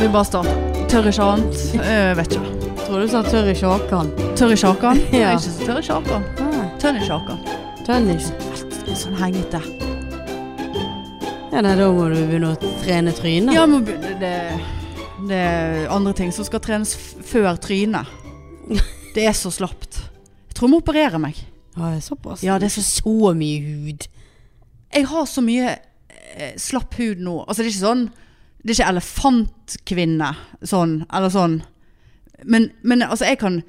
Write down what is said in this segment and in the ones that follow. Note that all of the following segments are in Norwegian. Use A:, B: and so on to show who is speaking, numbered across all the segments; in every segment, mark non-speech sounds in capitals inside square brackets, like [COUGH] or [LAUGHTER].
A: Vi bare starter. Tørr ikke annet. Eh, vet ikke.
B: Tror du sa tørr i kjakan?
A: Tørr i [LAUGHS] sjakan?
B: Ja.
A: Ikke så tørr i sjakan. Tønn i sjakan.
B: Tønnis.
A: Litt Sånn hengete.
B: Ja, nei, da må du begynne å trene trynet.
A: Ja, men det, det, det er andre ting som skal trenes f før trynet. Det er så slapt. Jeg tror jeg må operere meg.
B: Ja, det er såpass.
A: Ja, det er
B: så, så mye hud.
A: Jeg har så mye eh, slapp hud nå. Altså, det er ikke sånn Det er ikke elefantkvinne sånn, eller sånn. Men, men altså, jeg kan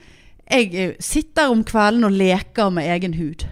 A: Jeg eh, sitter om kvelden og leker med egen hud.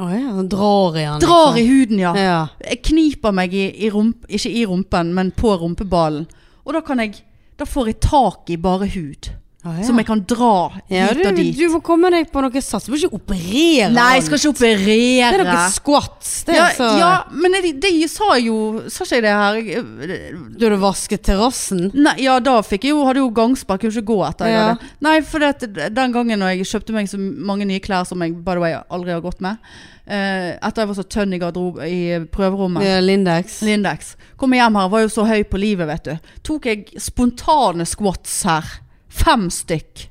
B: Å ja, sånn drar i han.
A: Drar i huden, ja.
B: Ja.
A: Jeg kniper meg i, i rump, ikke i rumpen, men på rumpeballen. Og da kan jeg Da får jeg tak i bare hud.
B: Å, ja.
A: Som jeg kan dra
B: ja,
A: hit
B: du,
A: og dit.
B: du får komme deg på noe sats. Du må ikke operere
A: Nei, jeg skal ikke operere.
B: Det er noe squats. Det,
A: ja,
B: er altså så...
A: ja, men det, det sa jeg jo Sa ikke jeg det her? Jeg-
B: Du hadde vasket terrassen.
A: Nei, ja, da fikk jeg jo, hadde jo gangspark. Kunne ikke gå etter. jeg
B: Ja.
A: hadde. Nei, for det, at den gangen når jeg kjøpte meg så mange nye klær som jeg by the way aldri har gått med, eh, etter jeg var så tønn i, garderob- i prøverommet
B: Ja, eh, Lindex.
A: Lindex. Kom hjem her, var jo så høy på livet, vet du. Tok jeg spontane squats her. Fem stykk.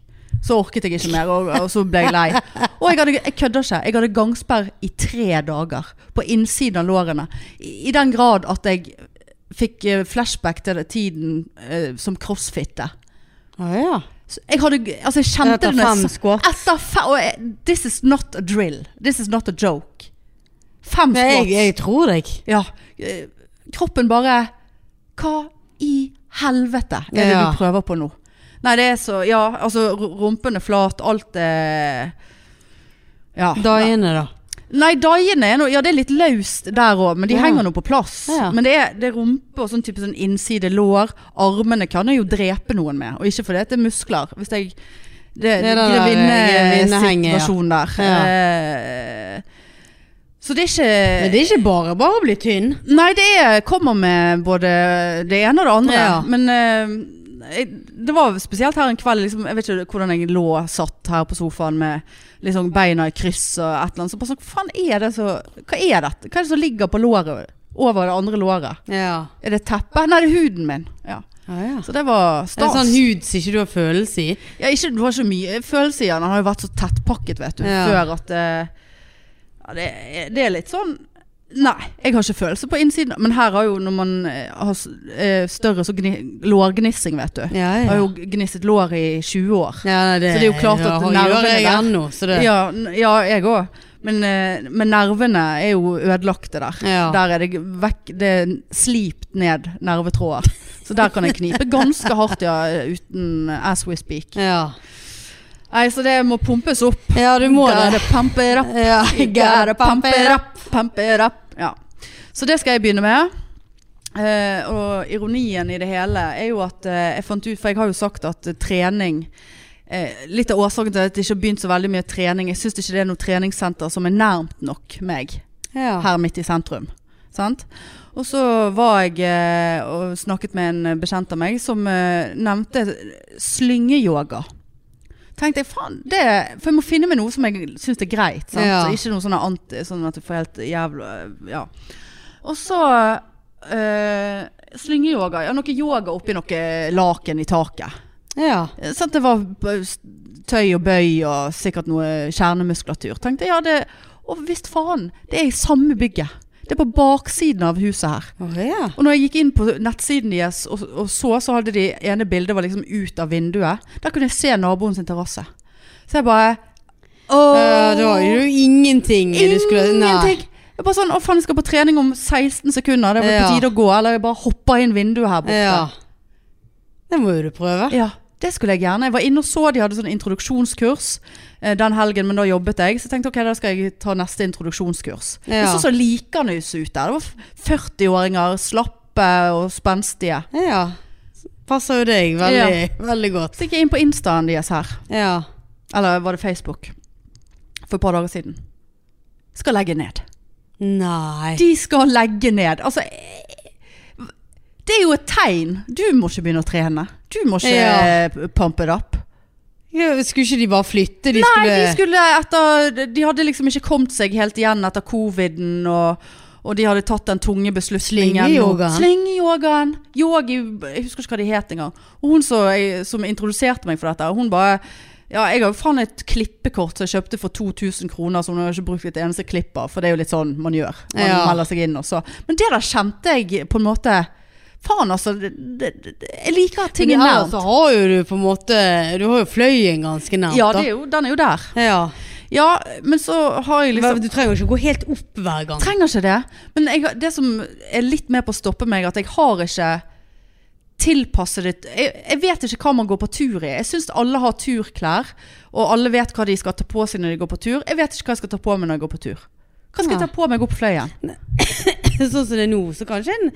A: Så orket jeg ikke mer, og, og så ble jeg lei. Og jeg, hadde, jeg kødder ikke. Jeg hadde gangsperr i tre dager. På innsiden av lårene. I, i den grad at jeg fikk eh, flashback til det- tiden eh, som crossfitte.
B: Å ja.
A: Så Jeg hadde, altså jeg kjente
B: Etter
A: det når jeg
B: fem
A: sa-
B: squats.
A: Etter fem, og jeg, this is not a drill. This is not a joke. Fem
B: Nei,
A: squats.
B: jeg, jeg tror deg.
A: Ja, eh, kroppen bare Hva i helvete er det
B: Ja.
A: du prøver på nå? Nei, det er så Ja, altså, ru- rumpen er flat, alt er Ja.
B: Dagene, da.
A: Nei, daiene er noe Ja, det er litt løst der òg, men de
B: Ja.
A: henger nå på plass.
B: Ja.
A: Men det er, det er rumpe og sånn type sånn innside lår. Armene kan jeg jo drepe noen med, og ikke fordi at det er muskler. Hvis jeg Det,
B: Det
A: det
B: er den der grevinnehenget, ja.
A: grevinnesituasjonen der.
B: Ja.
A: Eh, så det er ikke
B: Men det er ikke bare bare å bli tynn.
A: Nei, det er, kommer med både det ene og det andre.
B: Ja.
A: Men eh, jeg, det var spesielt her en kveld liksom, Jeg vet ikke hvordan jeg lå satt her på sofaen med liksom, beina i kryss og et eller annet. Så bare sånn, faen er det så Hva er dette? Hva er det som ligger på låret? Over det andre låret?
B: Ja.
A: Er det teppet? Nei, det er huden min. Ja.
B: Å ja.
A: Så det var
B: Det er
A: stas.
B: sånn hud som ikke du har følelse i.
A: Ja, ikke, det var ikke mye følelse i han. Han har jo vært så tettpakket, vet du.
B: Ja.
A: Før at eh, ja, det, er- det er litt sånn Nei, jeg har ikke følelse på innsiden. Men her har jo når man eh, har s- eh, større så gni, lårgnissing, vet du.
B: Ja,
A: Jeg
B: ja.
A: har jo gnisset lår i 20 år.
B: Ja, nei, det,
A: Så det er jo klart
B: har-
A: at
B: gjør
A: nervene
B: jeg
A: der-
B: ennå, så det
A: Ja, n- ja jeg òg. Men, eh, men nervene er jo ødelagte der.
B: Ja.
A: Der er det, g- vekk, det er slipt ned nervetråder. Så der kan jeg knipe ganske hardt, ja, uten as we speak.
B: Ja,
A: Nei, så det må pumpes opp.
B: ja du må det.
A: Gotta pump it up.
B: Ja,
A: Gotta pump it up. Pump it up. Ja. Så det skal jeg begynne med. Eh, og ironien i det hele er jo at eh, jeg fant ut For jeg har jo sagt at eh, trening eh, Litt av årsaken til at det ikke har begynt så veldig mye trening Jeg syns ikke det er noe treningssenter som er nærmt nok meg
B: Ja.
A: her midt i sentrum. Sant? Og så var jeg eh, og snakket med en eh, bekjent av meg som eh, nevnte slyngeyoga. Tenkte jeg, faen, det For jeg må finne meg noe som jeg syns er greit. Sant?
B: Ja.
A: Så Ikke noe sånn anti, sånn at du får helt jævla eh, Ja. Og så eh, slyngeyoga. Ja, noe yoga oppi noe laken i taket.
B: ja.
A: Eh, Sant, det var b- s- tøy og bøy og sikkert noe kjernemuskulatur. Tenkte jeg, ja det Og visst faen, det er i samme bygget. Det er på baksiden av huset her.
B: Å ja.
A: Og når jeg gikk inn på nettsiden deres og, og så, så hadde de ene bildet var liksom ut av vinduet. Der kunne jeg se naboen sin terrasse. Så jeg bare Åh,
B: Eh, det var jo ingenting du skulle
A: "Mm, Ingenting! Jeg bare sånn, å faen, jeg skal på trening om 16 sekunder. Det er vel på
B: Ja.
A: tide å gå. Eller jeg bare hopper inn vinduet her borte.
B: Ja. Det må jo du prøve.
A: Ja, det skulle jeg gjerne. Jeg var inne og så de hadde sånn introduksjonskurs eh, den helgen, men da jobbet jeg. Så jeg tenkte ok, da skal jeg ta neste introduksjonskurs. Det
B: Ja.
A: så så likende ut ut der. Det var f- 40-åringer, slappe og spenstige.
B: Ja. Passer jo deg veldig, veldig godt.
A: Så gikk jeg inn på instaen deres her.
B: Ja.
A: Eller var det Facebook? For et par dager siden. Skal legge ned.
B: Nei.
A: De skal legge ned. Altså eh, Det er jo et tegn. Du må ikke begynne å trene. Du må ikke
B: Ja.
A: eh, pump it up.
B: Ja, Skulle ikke de bare flytte? De
A: Nei,
B: skulle
A: de skulle etter De hadde liksom ikke kommet seg helt igjen etter coviden og Og de hadde tatt den tunge beslutningen.
B: Slyngeyogaen.
A: Slyngeyogaen. Yogi Jeg husker ikke hva de het engang. Og hun som, som introduserte meg for dette, hun bare Ja, jeg har jo faen et klippekort som jeg kjøpte for 2000 kroner, som hun har ikke brukt et eneste klipp av. For det er jo litt sånn man gjør. Man
B: Ja.
A: melder seg inn, og så Men det der kjente jeg på en måte Faen, altså. Det, det, det, jeg liker at ting
B: Men
A: er
B: her
A: nevnt.
B: så har jo du på en måte Du har jo fløyen ganske nært.
A: Ja,
B: da.
A: det er jo, den er jo der.
B: ja.
A: Ja, men så har jeg liksom
B: Men Du trenger jo ikke gå helt opp hver gang.
A: Trenger ikke det. Men jeg, har- det som er litt med på å stoppe meg, at jeg har ikke tilpasset det jeg, jeg vet ikke hva man går på tur i. Jeg syns alle har turklær, og alle vet hva de skal ta på seg når de går på tur. Jeg vet ikke hva jeg skal ta på meg når jeg går på tur. Hva skal jeg ta på meg opp fløyen?
B: [LAUGHS] sånn som det er nå, så kanskje en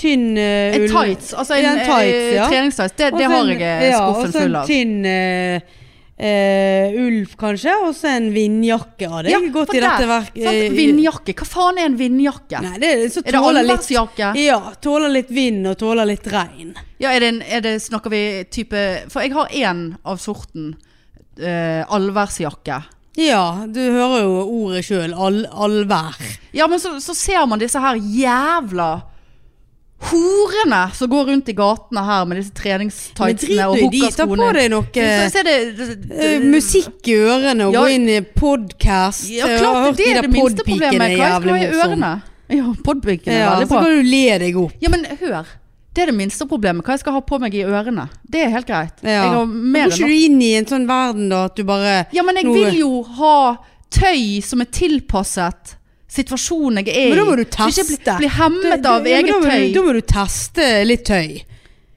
B: tynn eh,
A: En
B: ull
A: tights, altså en,
B: Ja, en
A: eh,
B: tights, ja.
A: treningstights. Det, det
B: Og så
A: har
B: en-
A: jeg eh, skuffen full
B: Og så
A: av.
B: en tynn eh, eh, ulv, kanskje, og så en vindjakke. Ja, det er ikke godt
A: for
B: i dette
A: der,
B: verket.
A: sant? Vindjakke. Hva faen er en vindjakke?
B: Nei, det er, så
A: er det
B: tåler litt
A: allværsjakke?
B: Ja, tåler litt vind og tåler litt regn.
A: Ja, er det, en, er det Snakker vi type For jeg har én av sorten eh, allværsjakke.
B: Ja, du hører jo ordet sjøl. All, allvær.
A: Ja, men så, så ser man disse her jævla horene som går rundt i gatene her med disse
B: Men drit
A: treningstightsene
B: nå
A: og
B: i de. Ta på
A: hookaskoene.
B: deg noe
A: Så, så er det,
B: eh, musikk i ørene og
A: Ja.
B: gå inn i eh, podkast.
A: Ja, klart det, det er det minste problemet. Hva jeg skal ha i ørene? Ja, podpikene er
B: Ja,
A: veldig
B: så
A: bra.
B: kan du le deg opp.
A: Ja, men hør. Det er det minste problemet. Hva jeg skal ha på meg i ørene. Det er helt greit.
B: Ja.
A: Jeg har
B: Men
A: mer
B: Går
A: enn
B: ikke
A: nok.
B: du inn i en sånn verden da at du bare
A: Ja, men jeg
B: Noe-
A: vil jo ha tøy som er tilpasset situasjonen jeg er i.
B: Men da må du
A: Så ikke jeg
B: teste.
A: blir- Blir hemmet
B: Da-
A: av
B: ja, men da
A: eget
B: må du- Da
A: tøy.
B: må du teste litt tøy.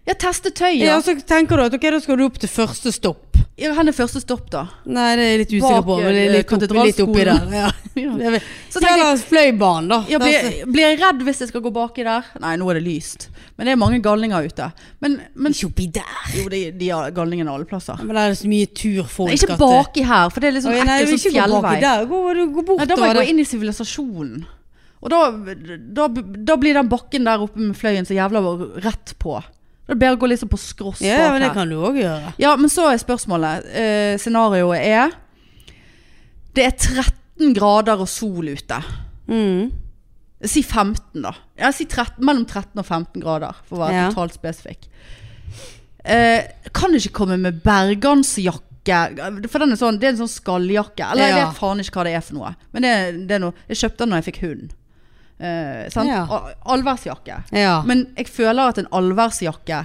A: Ja, teste tøy,
B: Ja.
A: ja. altså-
B: så tenker du at ok, da skal du opp til første stopp.
A: Ja, Hvor er første stopp, da?
B: Nei, det er jeg litt usikker
A: Bak,
B: på. Men det er
A: eh,
B: litt, opp, litt oppi
A: katedralskolen.
B: der. [LAUGHS] Ja.
A: [LAUGHS] Ja.
B: Jeg vet-
A: Så tenker jeg-
B: Eller fløibanen, da.
A: Ja,
B: Der-
A: blir, blir jeg redd hvis jeg skal gå baki der? Nei, nå er det lyst. Men det er mange galninger ute. Men, men
B: Ikke oppi der.
A: jo, de, de har galningene alle plasser.
B: Men der er det så mye turfolk.
A: Nei, ikke
B: at det-
A: baki her, for det er litt sånn
B: Oi, Nei,
A: ekkelt
B: ikke
A: sånn
B: gå
A: fjellvei.
B: baki der. Gå, du- gå
A: Nei, da må
B: bortover
A: jeg gå
B: der.
A: inn i sivilisasjonen. Og da, da, da blir den bakken der oppe med fløyen så jævla rett på. Da er det bedre å gå liksom på skross
B: Ja,
A: bak
B: men det
A: her.
B: kan du òg gjøre.
A: Ja, men så er spørsmålet. Eh, scenarioet er Det er 13 grader og sol ute.
B: Mm.
A: Si 15 da ja, si 13, Mellom 13 og 15 grader For å være
B: Ja.
A: totalt spesifikk eh, Kan ikke komme med bergansjakke For den er sånn, det er en sånn skalljakke Eller jeg
B: Ja.
A: vet faen ikke hva det er for noe Men det, det er noe, jeg kjøpte den når jeg fikk hund eh, sant?
B: Ja.
A: Al- Allværsjakke
B: Ja.
A: Men jeg føler at en allværsjakke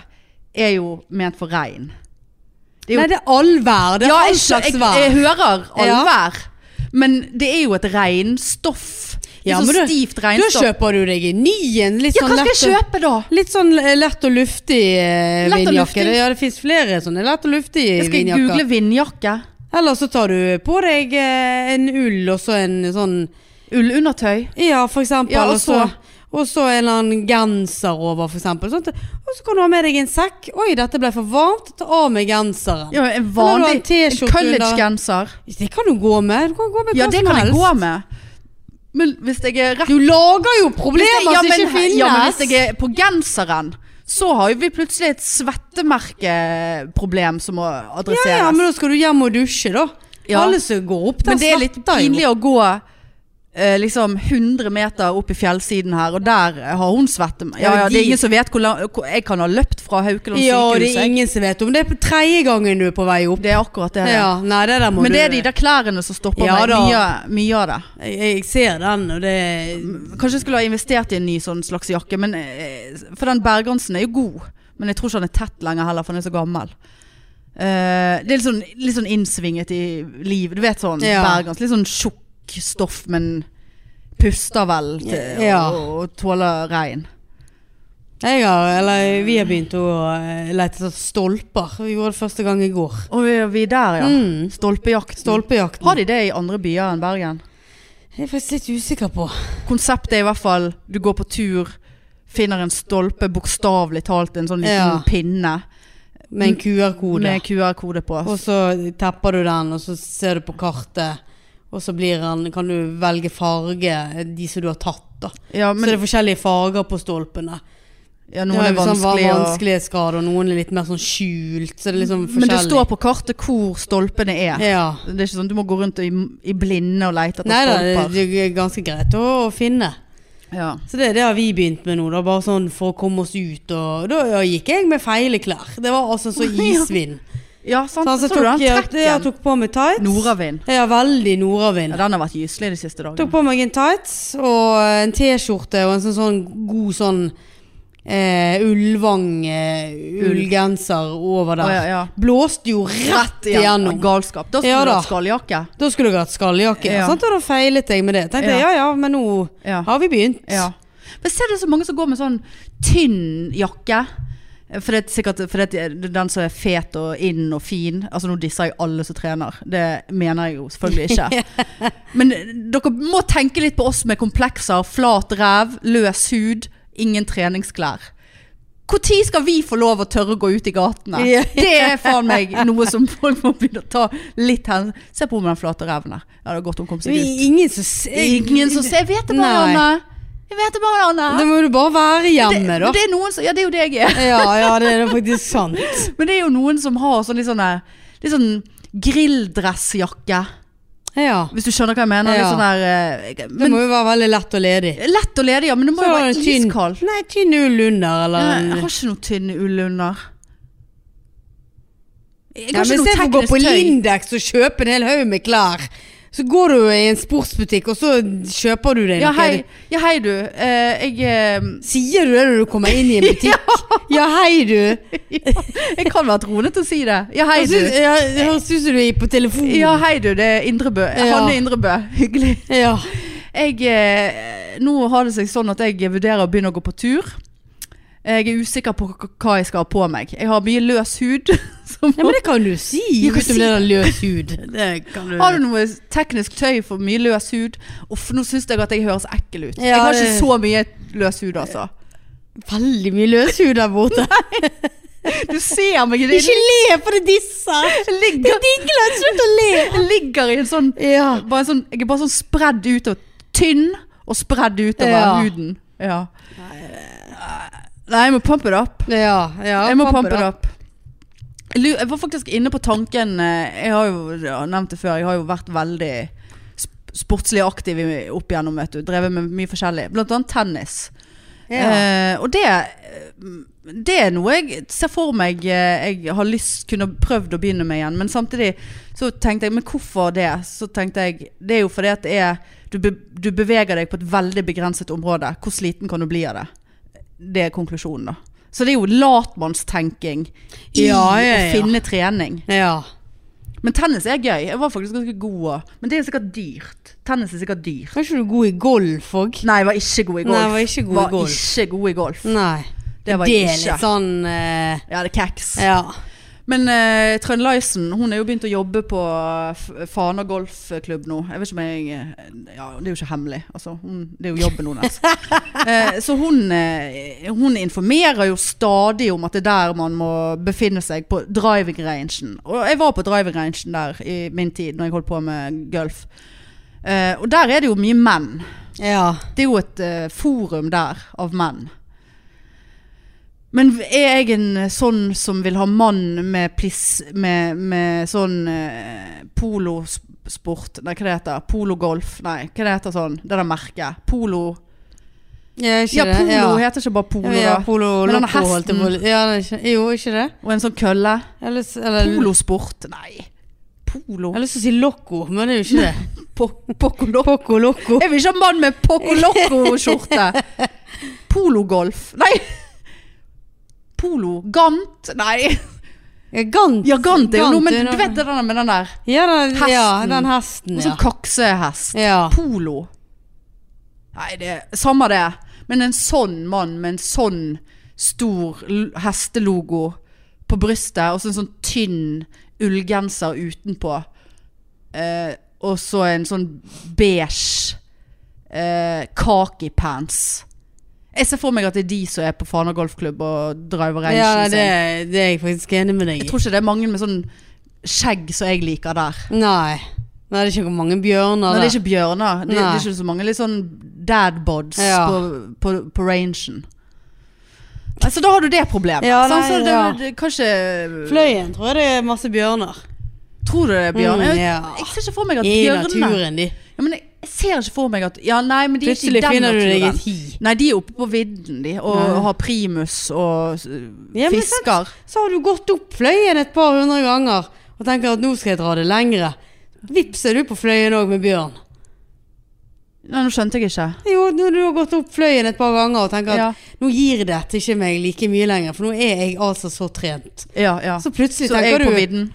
A: Er jo ment for regn Det er jo
B: Nei, det er allvær. Det er
A: ja,
B: all
A: jeg,
B: slags
A: jeg,
B: vær.
A: jeg hører
B: Ja.
A: allvær Men det er jo et regnstoff Det er
B: Ja,
A: sånn
B: men du-
A: stivt
B: da
A: regnstoff
B: kjøper du deg en ny en. Litt
A: Ja,
B: sånn
A: hva skal
B: lett
A: jeg
B: og-
A: kjøpe da?
B: Litt sånn eh, lett og luftig eh,
A: Lett og
B: vindjakke.
A: luftig.
B: Det- Ja, det fins flere sånne lett og luftige
A: Jeg skal google
B: vindjakker.
A: vindjakke.
B: Eller så tar du på deg eh, en ull og så en sånn
A: Ullundertøy.
B: Ja, for eksempel.
A: Ja, og
B: og så og så en eller annen genser over, for eksempel. Sånt. Og så kan du ha med deg en sekk. Oi, dette ble for varmt. Ta av meg genseren.
A: Ja, en
B: Eller du har en
A: vanlig
B: T-skjorte
A: en college-genser.
B: Det kan du gå med. Du kan gå med
A: Ja,
B: hva
A: det
B: som
A: kan jeg
B: helst.
A: gå med. Men hvis jeg er rett
B: Du lager jo
A: hvis jeg,
B: problemer
A: ja,
B: som
A: men,
B: ikke finnes.
A: ja, men hvis jeg er på genseren, så har jo vi plutselig et svettemerkeproblem som må adresseres.
B: ja, ja, men da skal du hjem og dusje, da.
A: Ja.
B: Alle som går opp der,
A: Men det er litt
B: svetter jo.
A: pinlig å gå eh, liksom 100 meter opp i fjellsiden her, og der eh, har hun svette. Ja, ja, det
B: de-
A: er ingen som vet hvor langt hvor- Jeg kan ha løpt fra Haukeland
B: Ja, og det
A: sykehus.
B: er
A: jeg.
B: ingen som vet om det. er på tredje gangen du er på vei opp.
A: Det er akkurat det.
B: Ja, nei, det der må
A: Men
B: du
A: det er de der klærne som stopper
B: Ja
A: meg.
B: da.
A: Mye, mye av det.
B: jeg, jeg ser den, og det
A: Kanskje jeg skulle ha investert i en ny sånn slags jakke, men, eh, for den Bergansen er jo god. Men jeg tror ikke han er tett lenger heller, for han er så gammel. Eh, det er litt sånn, litt sånn innsvinget i liv. Du vet sånn
B: Ja.
A: Bergans. Litt sånn tjukk stoff, men puster vel til,
B: Ja.
A: og, og tåler regn.
B: jeg har, eller Vi har begynt å eh, lete etter stolper. Vi gjorde det første gang i går.
A: Og vi, vi er der, ja.
B: Mm.
A: Stolpejakt.
B: Stolpejakten.
A: Har de det i andre byer enn Bergen?
B: Jeg er faktisk litt usikker på.
A: Konseptet er i hvert fall Du går på tur Finner en stolpe Bokstavlig talt En sånn liten
B: Ja.
A: pinne
B: Med en QR-kode.
A: Med QR-kode på
B: Og så tepper du den, og så ser du på kartet. Og så blir han, kan du velge farge, de som du har tatt. da
A: Ja,
B: Så det
A: men
B: er forskjellige farger på stolpene.
A: ja, Noen
B: ja,
A: er vanskelig
B: sånn,
A: å-
B: vanskelighetsgrad, og noen er litt mer sånn skjult. Så det er liksom forskjellig.
A: Men det står på kartet Hvor stolpene er
B: ja.
A: Det er ikke sånn Du må gå rundt i, i blinde Og lete etter
B: Nei da,
A: stolper
B: det er ganske greit å, å finne.
A: Ja.
B: Så det, det har vi begynt med nå, da, bare sånn for å komme oss ut. Og da ja, gikk jeg med feile klær. Det var altså så isvind.
A: ja, sant.
B: Så
A: Så,
B: altså,
A: du
B: tok,
A: den
B: jeg, jeg
A: trekken?
B: tok på meg tights.
A: Nordavind.
B: Ja, veldig
A: Ja,
B: nordavind.
A: den har vært gyselig de siste
B: Tok
A: dagene.
B: på meg en tights og en T-skjorte og en sånn, sånn god sånn eh, Ulvang-ullgenser over
A: Å,
B: der.
A: ja, ja.
B: Blåste jo rett
A: igjen.
B: igjennom.
A: Galskap. Da skulle
B: Ja,
A: du
B: da.
A: hatt skalljakke.
B: Da skulle jeg hatt skalljakke,
A: Ja.
B: sant? og da feilet jeg med det. Tenkte jeg, ja ja, men nå
A: Ja.
B: har vi begynt.
A: Ja. Men ser du så mange som går med sånn tynn jakke? For det er sikkert for det er den som er fet og inn og fin. Altså Nå disser jeg alle som trener. Det mener jeg jo selvfølgelig ikke. Men dere må tenke litt på oss med komplekser. Flat ræv, løs hud, ingen treningsklær. Når skal vi få lov å tørre å gå ut i gatene?
B: Ja.
A: Det er faen meg noe som folk må begynne å ta litt hen. Se på henne med den flate ræven der. Ja, det er godt hun kom
B: Det
A: seg
B: er
A: ut.
B: Ingen som ser
A: Ingen som ser Jeg vet det bare,
B: Nei.
A: Anne. Jeg vet det bare, Anne.
B: Da må du bare være hjemme, da.
A: Det, det er noen som, ja, det er jo det jeg er.
B: Ja, ja, det er faktisk sant.
A: Men det er jo noen som har sånn litt sånn der- litt sånn grilldressjakke.
B: Ja.
A: Hvis du skjønner hva jeg mener.
B: Ja.
A: Litt sånn der, eh,
B: Det
A: men,
B: må jo være veldig lett og ledig.
A: lett og ledig, ja. Men det må
B: Så
A: jo
B: har
A: være
B: du tynn,
A: iskald.
B: nei, tynn ull under, eller
A: Jeg jeg
B: en-
A: har ikke noe tynn ull under. Jeg
B: ja,
A: har
B: men se
A: ikke noe
B: for å gå på
A: teknisk tøy.
B: Lindex og kjøpe en hel haug med klær. Så går du i en sportsbutikk, og så kjøper du deg
A: Ja
B: noe.
A: hei, ja, hei du. Eh, jeg, eh, [LAUGHS]
B: Sier du det når du kommer inn [LAUGHS] i en butikk? ja, hei du.
A: jeg kan være troende til å si det. Ja, hei
B: Jeg synes-
A: du.
B: ja, Det høres ut som du er på telefonen.
A: Ja, hei du. Det er Indrebø.
B: Ja.
A: Hanne Indrebø. Hyggelig.
B: Ja.
A: Jeg, eh, nå har det seg sånn at jeg vurderer å begynne å gå på tur. Jeg er usikker på k- hva jeg skal ha på meg. Jeg har mye løs hud. [LAUGHS] som-
B: Ja, men det kan du si.
A: Jeg kan
B: Utenom
A: si-
B: det der løs hud. [LAUGHS] Det kan
A: har du noe teknisk tøy for mye løs hud? Uff, nå syns jeg at jeg høres ekkel ut.
B: Ja,
A: jeg har
B: det-
A: ikke så mye løs hud, altså.
B: Veldig mye løs hud der borte.
A: Du ser meg i
B: [LAUGHS]
A: det.
B: Ikke le, for det disser.
A: Jeg
B: Det
A: ligger,
B: er digler, slutt å le.
A: jeg ligger i en sånn,
B: Ja.
A: bare en sånn Jeg er bare sånn spredd utover. Tynn og spredd utover
B: Ja.
A: huden. Ja. Nei, jeg må pump it up.
B: Ja, ja.
A: Jeg må
B: pump
A: pumpe
B: it
A: det
B: up.
A: opp. Jeg lu- jeg var faktisk inne på tanken eh, Jeg har jo jeg har nevnt det før, jeg har jo vært veldig sp- sportslig aktiv i- opp igjennom, vet du. Drevet med mye forskjellig. Blant annet tennis.
B: Ja.
A: Eh, og det eh, Det er noe jeg ser for meg eh, jeg har lyst kunne prøvd å begynne med igjen. Men samtidig så tenkte jeg Men hvorfor det? Så tenkte jeg Det er jo fordi at det er du, be, du beveger deg på et veldig begrenset område. Hvor sliten kan du bli av det? Det er konklusjonen, da. Så det er jo latmannstenking i
B: Ja, ja, ja.
A: å finne trening.
B: ja.
A: Men tennis er gøy. Jeg var faktisk ganske god. også. Men det er sikkert dyrt. Tennis er sikkert dyrt.
B: Var ikke du god i golf òg?
A: Nei, jeg var ikke god i golf.
B: Nei, jeg var ikke god i
A: Var
B: golf.
A: ikke god i golf.
B: Nei.
A: Det var
B: det
A: jeg
B: er
A: ikke.
B: litt sånn eh,
A: Ja, det er keks.
B: Ja.
A: Men uh, Trønd Lysen, hun er jo begynt å jobbe på eh, F- Fana golfklubb nå. Jeg vet ikke om jeg eh, Ja, det er jo ikke hemmelig. Altså, hun, det er jo jobben [LAUGHS] hennes. Eh, så hun, eh, hun informerer jo stadig om at det er der man må befinne seg, på driving rangen. Og jeg var på driving rangen der i min tid, når jeg holdt på med golf. Eh, og der er det jo mye menn.
B: Ja.
A: Det er jo et eh, forum der av menn. Men er jeg en sånn som vil ha mann med, pliss, med, med sånn eh, polosport Nei, hva det heter Pologolf? Nei, hva det heter sånn? Det der merket. Polo
B: Ja, ikke
A: Ja,
B: det?
A: polo
B: ja.
A: heter ikke bare polo,
B: Ja, ja,
A: da.
B: polo
A: Men denne
B: loco, holdt jeg på å
A: hesten.
B: si. Ja, det er ikke, jo, ikke det?
A: Og en sånn kølle.
B: Eller, s- eller,
A: Polosport. Nei. Polo
B: Jeg har lyst til å si loco, men det er jo
A: [LAUGHS]
B: ikke det.
A: Poco loco.
B: Poco loco.
A: Jeg vil ikke ha mann med poco loco-skjorte.
B: [LAUGHS]
A: Pologolf. Nei. Polo. Gant. Nei.
B: Ja, Gant.
A: Ja, gant er jo noe, men
B: noe-
A: du vet det der med den der
B: Ja, den,
A: Hesten.
B: ja, den hesten,
A: Og
B: ja.
A: sånn kaksehest.
B: ja.
A: Polo. Nei, det Samme det. Men en sånn mann med en sånn stor l- hestelogo på brystet, og så en sånn tynn ullgenser utenpå, eh, og så en sånn beige eh, khaki-pants. Jeg ser for meg at det er de som er på Fana golfklubb og driver rangen
B: Ja,
A: sin.
B: det, det er jeg faktisk enig med deg
A: Jeg
B: i.
A: tror ikke det er mange med sånn skjegg som jeg liker der.
B: Nei. Nei, det er ikke mange
A: Nei,
B: bjørner
A: det
B: der.
A: er ikke bjørner. Det, det
B: Nei.
A: er ikke så mange litt sånn dadbods
B: Ja.
A: på, på, på rangen. Altså, da har du det problemet.
B: Ja,
A: sånn,
B: nei,
A: så det,
B: ja.
A: det, kanskje
B: Fløyen tror jeg det er masse bjørner.
A: Tror du det er bjørn?
B: Mm,
A: jeg,
B: ja.
A: jeg ser ikke for meg at
B: I
A: bjørner
B: naturen, de.
A: ja, men jeg, jeg ser ikke for meg at Ja, nei, men de er ikke i
B: Plutselig
A: den
B: finner du deg
A: naturen.
B: et hi.
A: Nei, de er oppe på vidden, de. Og
B: Ja.
A: har primus og eh,
B: Ja, men sant.
A: fisker.
B: Så har du gått opp fløyen et par hundre ganger og tenker at nå skal jeg dra det lengre. Vips er du på fløyen òg med bjørn.
A: Nei, nå skjønte jeg ikke.
B: Jo, når du har gått opp fløyen et par ganger og tenker at
A: Ja.
B: nå gir dette ikke meg like mye lenger, for nå er jeg altså så trent.
A: Ja, ja.
B: Så plutselig
A: Så er jeg
B: tenker
A: på
B: du
A: vidden.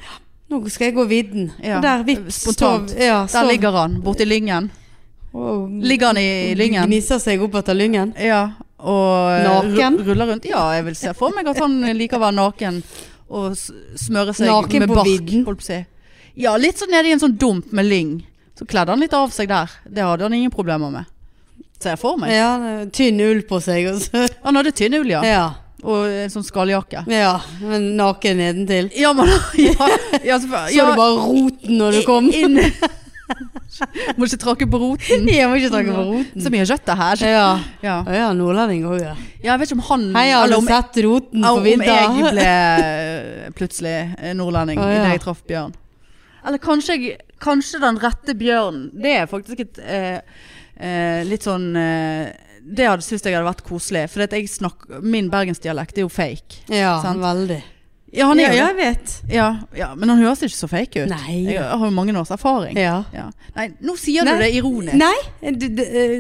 B: nå skal jeg gå vidden.
A: Ja.
B: Og der vips
A: Spontant.
B: står- Ja,
A: Der ligger han, borti lyngen. Ligger han i lyngen?
B: Gnisser seg opp etter lyngen.
A: Ja, og eh,
B: Naken?
A: ru- ruller rundt. Ja, jeg vil se for meg at han liker å være naken og s- smøre seg
B: Naken
A: med
B: på
A: bark.
B: vidden?
A: holdt på å si. Ja, litt sånn nede i en sånn dump med lyng. Så kledde han litt av seg der. Det hadde han ingen problemer med. Ser jeg for meg.
B: Ja, tynn ull på seg. Og så.
A: Han hadde tynn ull, ja.
B: Ja.
A: Og en sånn skalljakke.
B: ja. Men naken nedentil.
A: Ja, men [LAUGHS] ja, ja, så,
B: Så
A: ja,
B: du bare roten når du kom?
A: inn- [LAUGHS] Må ikke tråkke på roten.
B: Jeg må ikke [LAUGHS] snakke på roten.
A: Så mye kjøtt det her.
B: Ja.
A: Ja.
B: Å ja, nordlending òg, ja.
A: Ja, Jeg vet ikke om han
B: Hei, har
A: Mm. eller
B: du
A: om
B: sett roten på
A: Om
B: vidda?
A: jeg ble eh,
B: [LAUGHS]
A: plutselig eh, nordlending
B: Å,
A: I
B: ja.
A: det jeg traff bjørn. Eller kanskje, jeg, kanskje den rette bjørnen. Det er faktisk et eh, eh, litt sånn eh, Det hadde syntes jeg hadde vært koselig. For at jeg snakk, min bergensdialekt er jo fake.
B: [LAUGHS] Ja,
A: Sant.
B: veldig.
A: Ja, han er jo
B: ja,
A: det.
B: jeg vet.
A: Ja, ja, men han høres ikke så fake ut.
B: Nei.
A: Jeg har jo mange års erfaring.
B: Ja.
A: Ja. Nei, nå sier
B: Nei.
A: du det ironisk.
B: Nei, du, du, eh,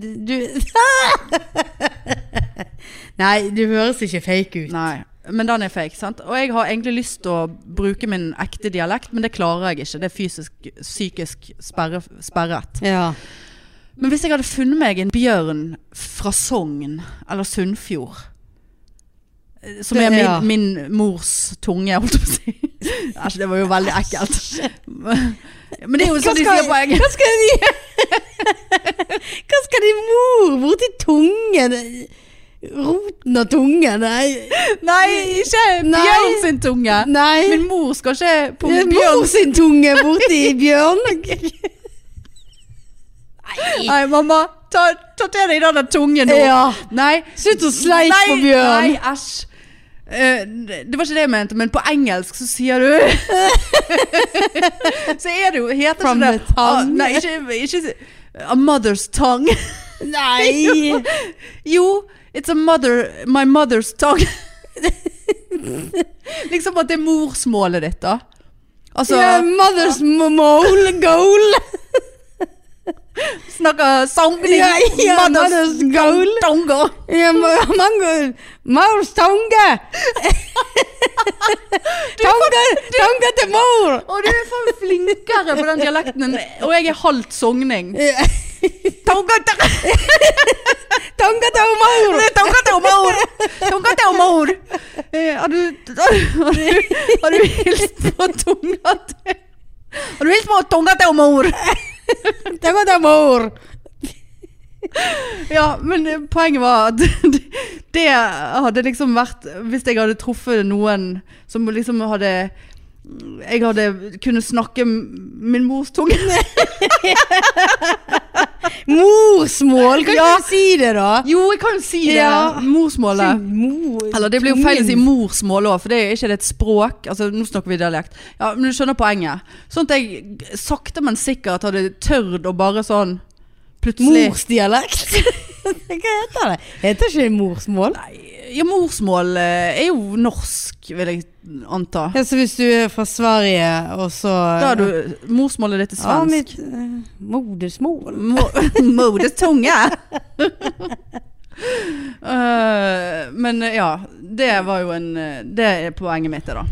B: du [LAUGHS] Nei, du høres ikke fake ut.
A: Nei, men den er fake, sant? Og jeg har egentlig lyst til å bruke min ekte dialekt, men det klarer jeg ikke. Det er fysisk, psykisk sperre, sperret.
B: Ja.
A: Men hvis jeg hadde funnet meg en bjørn fra Sogn eller Sunnfjord, eh, som
B: Det-
A: er min,
B: ja.
A: min mors tunge, holdt jeg på å
B: [LAUGHS]
A: si. Æsj, det var jo veldig ekkelt. Men det er jo sånn de sier på eng-
B: Hva skal de [LAUGHS] Hva skal de mor borti tungen? Roten av tungen? Nei.
A: Nei, ikke
B: Nei.
A: bjørn sin tunge.
B: Nei.
A: Min mor skal ikke på
B: Bjørn
A: bjørn.
B: sin tunge borti bjørn.
A: Nei, mamma, ta, ta til deg den der tungen [LAUGHS] nå.
B: Ja.
A: Nei,
B: Slutt å sleike på bjørn.
A: Nei, æsj. Eh, det var ikke det jeg mente, men på engelsk så sier
B: [LAUGHS]
A: du Så er det jo heter
B: From
A: ikke
B: the tongue.
A: Ah, nei, ikke, ikke A mother's tongue. [LAUGHS]
B: [LAUGHS] Nei.
A: jo, it's a mother My mother's
B: [LAUGHS]
A: tongue. liksom at det er morsmålet ditt, da. Altså
B: Yeah, mother's m- mole goal.
A: snakker sangning
B: Ja, ja, mother's goal.
A: tongue.
B: Yeah, mo- mango- Mors tunge. Tunge tunge til mor.
A: Og du er faen flinkere på den dialekten enn Og jeg er halvt sogning.
B: [LAUGHS] Ja,
A: Tonga til-
B: Tunge til mor.
A: Tonga til mor! Tonga til mor! Eh, Har du Har du, har du hilst på tunga til Har du hilst på tunga til mor?
B: Tunge til mor.
A: Ja, men eh, poenget var at [LAUGHS] det hadde liksom vært Hvis jeg hadde truffet noen som liksom hadde Jeg hadde kunnet snakke min mors tunge.
B: Morsmål, kan
A: Ja.
B: ikke du si det da?
A: Jo, jeg kan jo si det.
B: Ja.
A: Morsmålet.
B: Mor,
A: Eller det blir jo feil å si morsmål òg, for det er ikke det et språk. Altså, nå snakker vi dialekt. Ja, Men du skjønner poenget. Sånn at jeg g- sakte, men sikkert hadde tørt å bare sånn plutselig
B: Morsdialekt? [LAUGHS] Hva heter det? Heter ikke det morsmål?
A: Ja, morsmål eh, er jo norsk, vil jeg anta.
B: Ja, så Altså, hvis du er fra Sverige, og så
A: Da er du Morsmålet ditt er
B: Ja,
A: svensk.
B: mitt eh, modersmål.
A: Mo- [LAUGHS] Moders tunge. Eh, men eh, ja, det var jo en eh, Det er poenget mitt, det, da.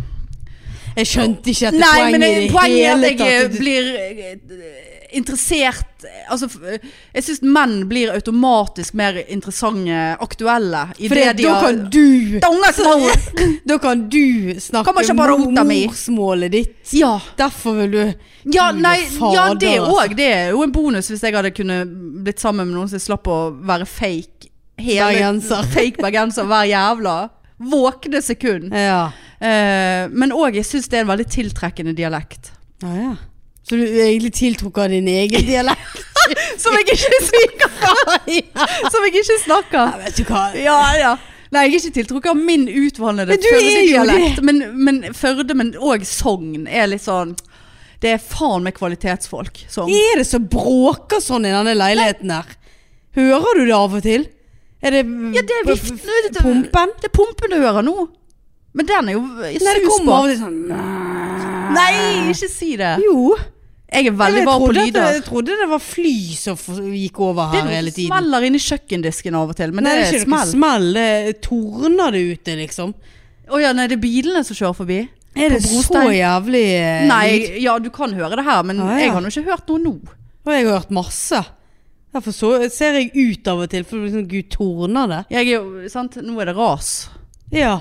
B: Jeg skjønte ikke at det
A: Nei, men
B: poenget i
A: det-
B: det
A: poenget er
B: hele
A: at jeg
B: tatt.
A: eh, blir eh, interessert eh, Altså, f- eh, jeg syns menn blir automatisk mer interessante, aktuelle. I
B: For
A: det de
B: da
A: har-
B: kan du
A: Donga små!
B: [LAUGHS] Da kan du snakke
A: Kommer ikke på rota mi.
B: morsmålet ditt.
A: Ja.
B: Derfor vil du
A: Ja,
B: Gud,
A: nei,
B: fader,
A: ja, det
B: altså.
A: òg. Det er jo en bonus hvis jeg hadde kunnet blitt sammen med noen som slapp å være fake. Hele,
B: Bergenser.
A: [LAUGHS] Fake bergenser hver jævla våkne sekund.
B: Ja.
A: Eh, men òg, jeg syns det er en veldig tiltrekkende dialekt.
B: ja, ja. Så du er egentlig tiltrukket av din
A: [LAUGHS]
B: egen dialekt?
A: Som jeg ikke snakker!
B: [LAUGHS] ja.
A: [LAUGHS] Som jeg ikke snakker.
B: Vet du hva?
A: Ja, ja. Nei, jeg er ikke tiltrukket av min utvannede
B: Men du er jo
A: Førde-dialekt. Men, men Førde, men òg Sogn, er litt sånn Det er faen meg kvalitetsfolk som
B: Er det så bråker sånn i denne leiligheten her? Hører du det av og til? Er det,
A: Ja, det er
B: p-
A: viften vet du.
B: pumpen?
A: Det er pumpen du hører nå. Men den er jo
B: Nei,
A: i
B: det
A: sus
B: kommer
A: på.
B: av og til sånn
A: Nei, ikke si det.
B: Jo.
A: Jeg er
B: Jeg,
A: veldig var på
B: trodde at det,
A: lyder.
B: jeg trodde det var fly som f- gikk over
A: Det
B: her
A: er
B: hele
A: noe
B: tiden.
A: smeller inni kjøkkendisken av og til, men
B: Nei,
A: det er
B: ikke noe
A: smell.
B: smell. Det torner det ute, liksom.
A: Å ja, nei, det er bilene som kjører forbi.
B: Er det
A: På
B: så
A: brostein.
B: jævlig eh, lyd?
A: Nei, ja du kan høre det her, men
B: Ah, ja.
A: jeg har nå ikke hørt noe nå.
B: Og jeg har hørt masse. Derfor så, ser jeg ut av og til, for liksom, gud, torner det.
A: Jeg er jo, sant, nå er det ras.
B: Ja.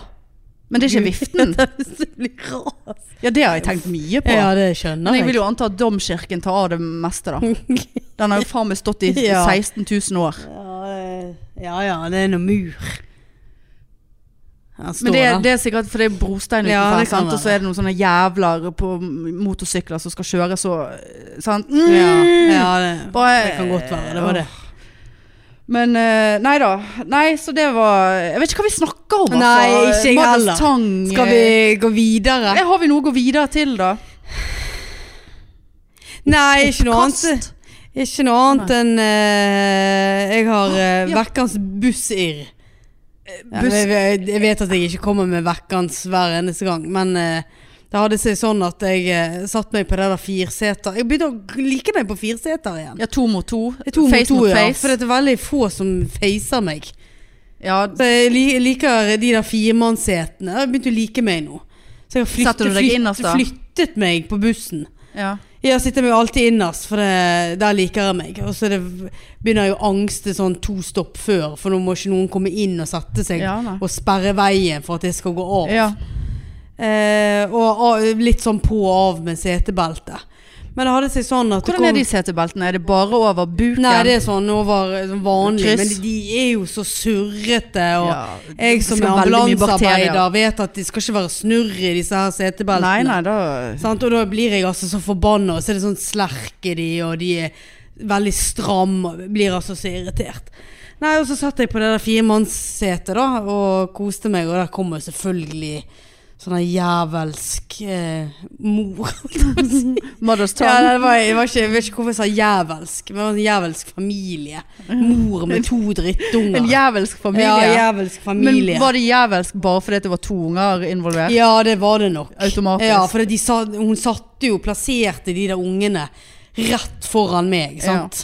A: Men [LAUGHS] det er
B: [LAUGHS]
A: ikke viften.
B: det blir ras.
A: Ja, det har jeg tenkt mye på.
B: Ja, det skjønner
A: Men jeg
B: jeg.
A: vil jo anta at domkirken tar av det meste, da. Den har jo faen meg stått i
B: [LAUGHS] Ja.
A: 16 000 år.
B: Ja, eh, [LAUGHS] ja, ja, det er noe mur. Her står
A: Men det,
B: den.
A: det er sikkert fordi det er brostein
B: Ja,
A: utenfor,
B: det kan
A: sant? og så
B: være.
A: er det noen sånne jævler på motorsykler som skal kjøre så sant? Mm.
B: ja, ja, det,
A: Bare-
B: det kan godt være. Det var det.
A: Men eh, nei da. Nei, så det var Jeg vet ikke hva vi snakker om.
B: Nei, ikke jeg
A: Maddens
B: heller.
A: Tang,
B: Skal vi gå videre?
A: eh, Har vi noe å gå videre til, da?
B: Nei, ikke noe annet.
A: Oppkast?
B: Ikke noe annet enn eh, Jeg har uh,
A: Ja. Eh,
B: vekkans bussirr. Ja,
A: buss-
B: jeg, jeg vet at jeg ikke kommer med vekkans hver eneste gang, men eh, det hadde seg sånn at jeg eh, satt meg på det der firseter Jeg begynte å g- like meg på firseter igjen.
A: Ja, to mot to.
B: Det er To
A: face
B: mot to,
A: mot
B: ja.
A: face.
B: For det er veldig få som facer meg.
A: Ja,
B: Så jeg li- liker de der firemannssetene. Jeg begynte å like meg nå. Så jeg har
A: Setter du
B: flyttet,
A: deg innerst,
B: flyttet,
A: da?
B: flyttet meg på bussen.
A: ja.
B: Jeg sitter meg alltid innerst, for det, der liker jeg meg. Og så er det, begynner jeg å angste sånn to stopp før, for nå må ikke noen komme inn og sette seg
A: Ja, nei.
B: og sperre veien for at jeg skal gå av.
A: ja.
B: Eh, og, og litt sånn på og av med setebeltet. Men det hadde seg sånn at det
A: Hvordan er
B: kom-
A: de setebeltene? Er det bare over buken?
B: Nei, det er sånn over sånn vanlig,
A: Kryss.
B: men de er jo så surrete. Og
A: Ja,
B: jeg som
A: skal
B: er
A: veldig mye
B: ambulansearbeider vet at det skal ikke være snurr i disse her setebeltene.
A: Nei, nei, da
B: Sant? Og da blir jeg altså så forbanna, og så er det sånn slerk i de, og de er veldig stramme, og blir altså så irritert. Nei, og så satt jeg på det der firemannssetet da, og koste meg, og der kom jo selvfølgelig sånn her jævelsk eh, mor. [LAUGHS]
A: Mothers
B: ja,
A: Tang.
B: det var, jeg, var ikke, jeg vet ikke hvorfor jeg sa jævelsk, men det var en jævelsk familie. Mor med to drittunger.
A: En jævelsk familie.
B: Ja, jævelsk familie.
A: Men var det jævelsk bare fordi det var to unger involvert?
B: Ja, det var det nok.
A: Automatisk.
B: Ja, for de sa, hun satte jo, plasserte de der ungene rett foran meg, sant?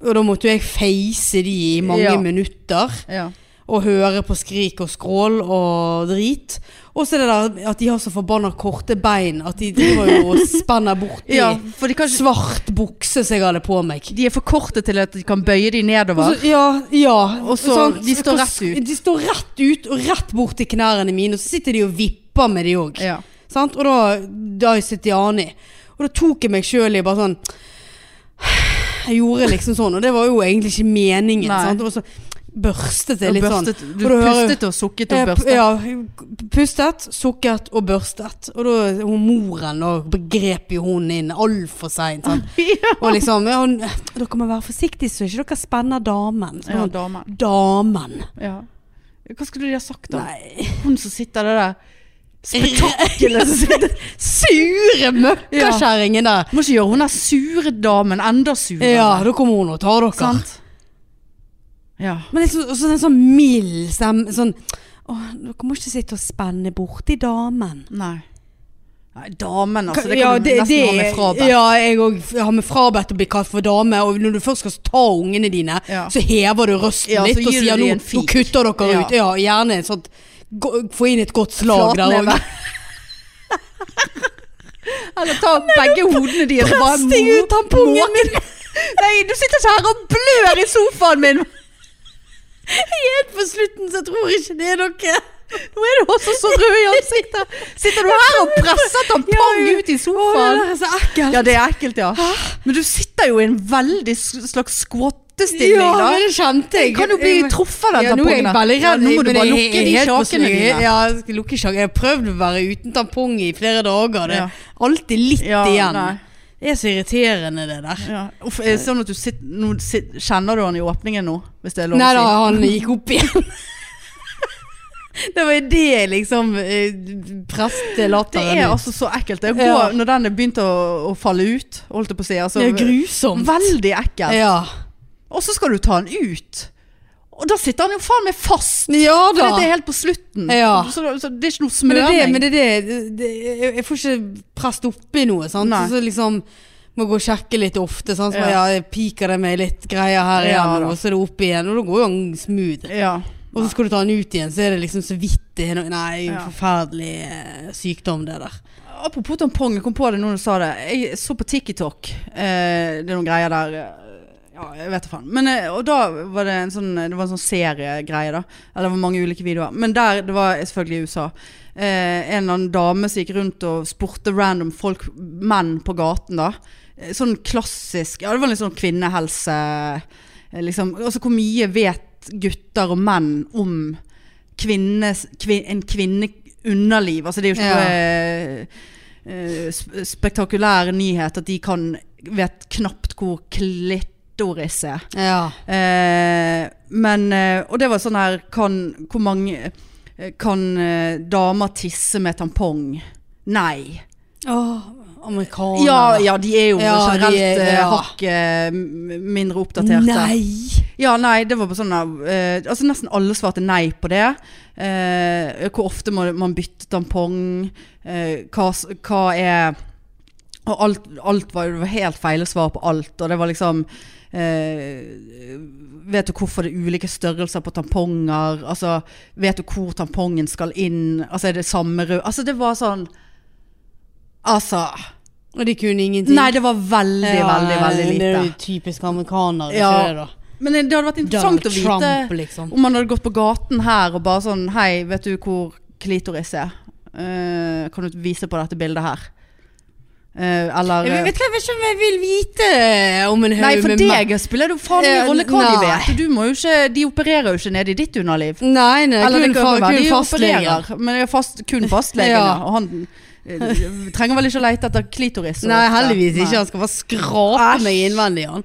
B: Og da måtte jo jeg face de i mange
A: Ja.
B: minutter
A: Ja.
B: og høre på skrik og skrål og drit. Og så er det der at de har så forbanna korte bein at de driver jo og spenner borti
A: ja, for de, kan, ikke-
B: svart bukse som jeg hadde på meg.
A: de er for korte til at de kan bøye de nedover.
B: Og så- Ja, ja. Sånn,
A: Og så- de står rett ut.
B: De står rett ut og rett bort til knærne mine, og så sitter de og vipper med de òg.
A: Ja.
B: Sant? Og da, da sitter jeg an i. Og da tok jeg meg sjøl i bare sånn Jeg gjorde liksom sånn, og det var jo egentlig ikke meningen.
A: Nei.
B: Sant? Og så børstet jeg
A: Og
B: litt
A: børstet,
B: sånn.
A: du
B: Og da hører-
A: pustet og sukket og
B: jeg-
A: børstet.
B: Ja,
A: [LAUGHS]
B: pustet, sukket og børstet. Og da hun moren da grep jo hun inn altfor seint. [LAUGHS]
A: [LAUGHS]
B: Og liksom ja, hun, Dere må være forsiktige så ikke dere spenner damen. Så
A: Ja,
B: hun,
A: damen.
B: damen.
A: Ja. Hva skulle de ha sagt da?
B: Nei.
A: Hun som sitter der
B: [LAUGHS]
A: der spetakkelet som sitter
B: Sure møkkakjerringen der.
A: Må ikke gjøre hun der sure damen enda surere.
B: Ja, da kommer hun og tar dere.
A: Sant? Ja.
B: Men liksom, også en sånn mild stemme. Sånn Åh, dere må ikke sitte og spenne borti damen.
A: Nei. Nei, damen, altså. Det kan du nesten ha med frabedt.
B: Ja, jeg òg har med frabedt å bli kalt for dame. Og når du først skal ta ungene dine,
A: Ja.
B: så hever du røsten
A: Ja, så
B: litt og
A: gir du
B: sier
A: de
B: nå,
A: en
B: nå
A: fik».
B: kutter dere
A: Ja.
B: ut. Ja, gjerne en sånn gå- Få inn et godt slag der
A: Flatneve.
B: òg.
A: Eller ta begge hodene dine og bare
B: Stig ut tampongen min!
A: [LAUGHS] Nei, du sitter ikke her og blør i sofaen min!
B: Helt på slutten, så jeg tror ikke det er noe.
A: Nå er du også så rød i ansiktet. Sitter du her og presser tampong
B: Ja,
A: ut
B: Å, det
A: i sofaen?
B: der er så ekkelt.
A: Ja, det er ekkelt, ja. Men du sitter jo i en veldig s- slags skvottestilling,
B: ja,
A: da.
B: men det kjente jeg.
A: Kan jo bli
B: Jeg-
A: truffet av den
B: ja, nå er jeg
A: tampongen.
B: veldig
A: Ja,
B: redd.
A: nå må du
B: men
A: bare
B: jeg-
A: lukke
B: jeg
A: de
B: er helt på
A: kjakene
B: snu.
A: dine.
B: Ja, jeg skal lukke kjakene. Jeg har prøvd å være uten tampong i flere dager. Det
A: Ja.
B: er alltid litt
A: Ja,
B: igjen.
A: nei.
B: Det er så irriterende det der.
A: Ja. Uff, er det sånn at du sitter, nå, sit- kjenner du han i åpningen nå, hvis det er
B: [LAUGHS]
A: lov
B: Nei da,
A: å si?
B: han gikk opp igjen. Det var jo det liksom eh,
A: Det
B: prestelatteren
A: er
B: min.
A: altså så ekkelt. Det å gå,
B: Ja.
A: når den er begynt å, å falle ut, holdt jeg på å si. Altså,
B: Det er grusomt.
A: veldig ekkelt.
B: Ja.
A: Og så skal du ta den ut. Og da sitter han jo faen meg fast!
B: ja
A: For
B: da.
A: dette er helt på slutten.
B: Ja.
A: Så, så det er ikke noe
B: Men det
A: smøring.
B: er det, men det, er det, det jeg, jeg får ikke prest oppi noe, sant?
A: Nei.
B: Så liksom må gå og sjekke litt ofte. Sant? Så, ja.
A: Ja.
B: jeg piker det med litt greier her
A: Ja,
B: igjen,
A: da.
B: og så er det opp igjen. Og da går jo han smooth.
A: ja.
B: Og så skal du ta han ut igjen, så er det liksom så vidt det er noe Nei,
A: Ja.
B: forferdelig eh, sykdom, det der.
A: Apropos tampong, jeg kom på det nå du sa det. Jeg så på TikTok. Eh, det er noen greier der eh, Ja, jeg vet da faen. Men, eh, og da var det en sånn Det var en sånn seriegreie, da. Eller det var mange ulike videoer. Men der Det var selvfølgelig i USA. Eh, en eller annen dame som gikk rundt og spurte random folk, menn på gaten, da. Eh, Sånn klassisk Ja, det var litt sånn kvinnehelse eh, Liksom. Altså hvor mye vet gutter og menn om kvinnes, kvin, en kvinne underliv? Altså det er jo ikke
B: Ja.
A: noe eh, sp- spektakulær nyhet at de kan vet knapt hvor klitoris er.
B: Ja.
A: Eh, men, eh, og det var sånn her kan, Hvor mange eh, kan eh, damer tisse med tampong? Nei.
B: Åh, amerikaner.
A: Ja, ja, de er jo
B: Ja, de er-
A: generelt eh,
B: ja.
A: hakk eh, m- mindre oppdaterte.
B: Nei!
A: Ja, nei, det var på sånn eh, Altså nesten alle svarte nei på det. Eh, hvor ofte må man bytte tampong? eh, hva, s- hva er Og alt, alt var, det var helt feil svar på alt. Og det var liksom eh, Vet du hvorfor det er ulike størrelser på tamponger? Altså, vet du hvor tampongen skal inn? Altså, er det samme rød Altså, det var sånn Altså
B: Og de kunne ingenting.
A: Nei, det var veldig,
B: Ja,
A: veldig, veldig
B: Det er
A: lite.
B: jo typisk amerikanere,
A: Ja.
B: ikke det da?
A: Men det hadde vært interessant
B: Donald
A: å vite
B: Trump, liksom.
A: Om man hadde gått på gaten her og bare sånn Hei, vet du hvor klitoris er? Eh, kan du vise på dette bildet her? Eh, eller
B: Jeg vet, vet, ikke- jeg vet ikke om jeg vil vite om en
A: Nei,
B: haug
A: for
B: med menn.
A: deg spiller det jo faen ingen
B: Eh,
A: rolle hva de
B: nei.
A: vet. Du må jo ikke, de opererer jo ikke ned i ditt underliv.
B: Nei, nei,
A: Eller
B: kun,
A: det kan
B: fa
A: jo være
B: kun
A: de
B: fastlegen.
A: opererer. Men det er
B: [LAUGHS]
A: fast, kun fastlegen, ja.
B: Ja.
A: Og han eh, trenger vel ikke å leite etter klitoris? så
B: Nei,
A: ofte.
B: heldigvis ikke. altså.
A: Nei.
B: Han skal bare skrape
A: Æsj.
B: meg innvendig, han.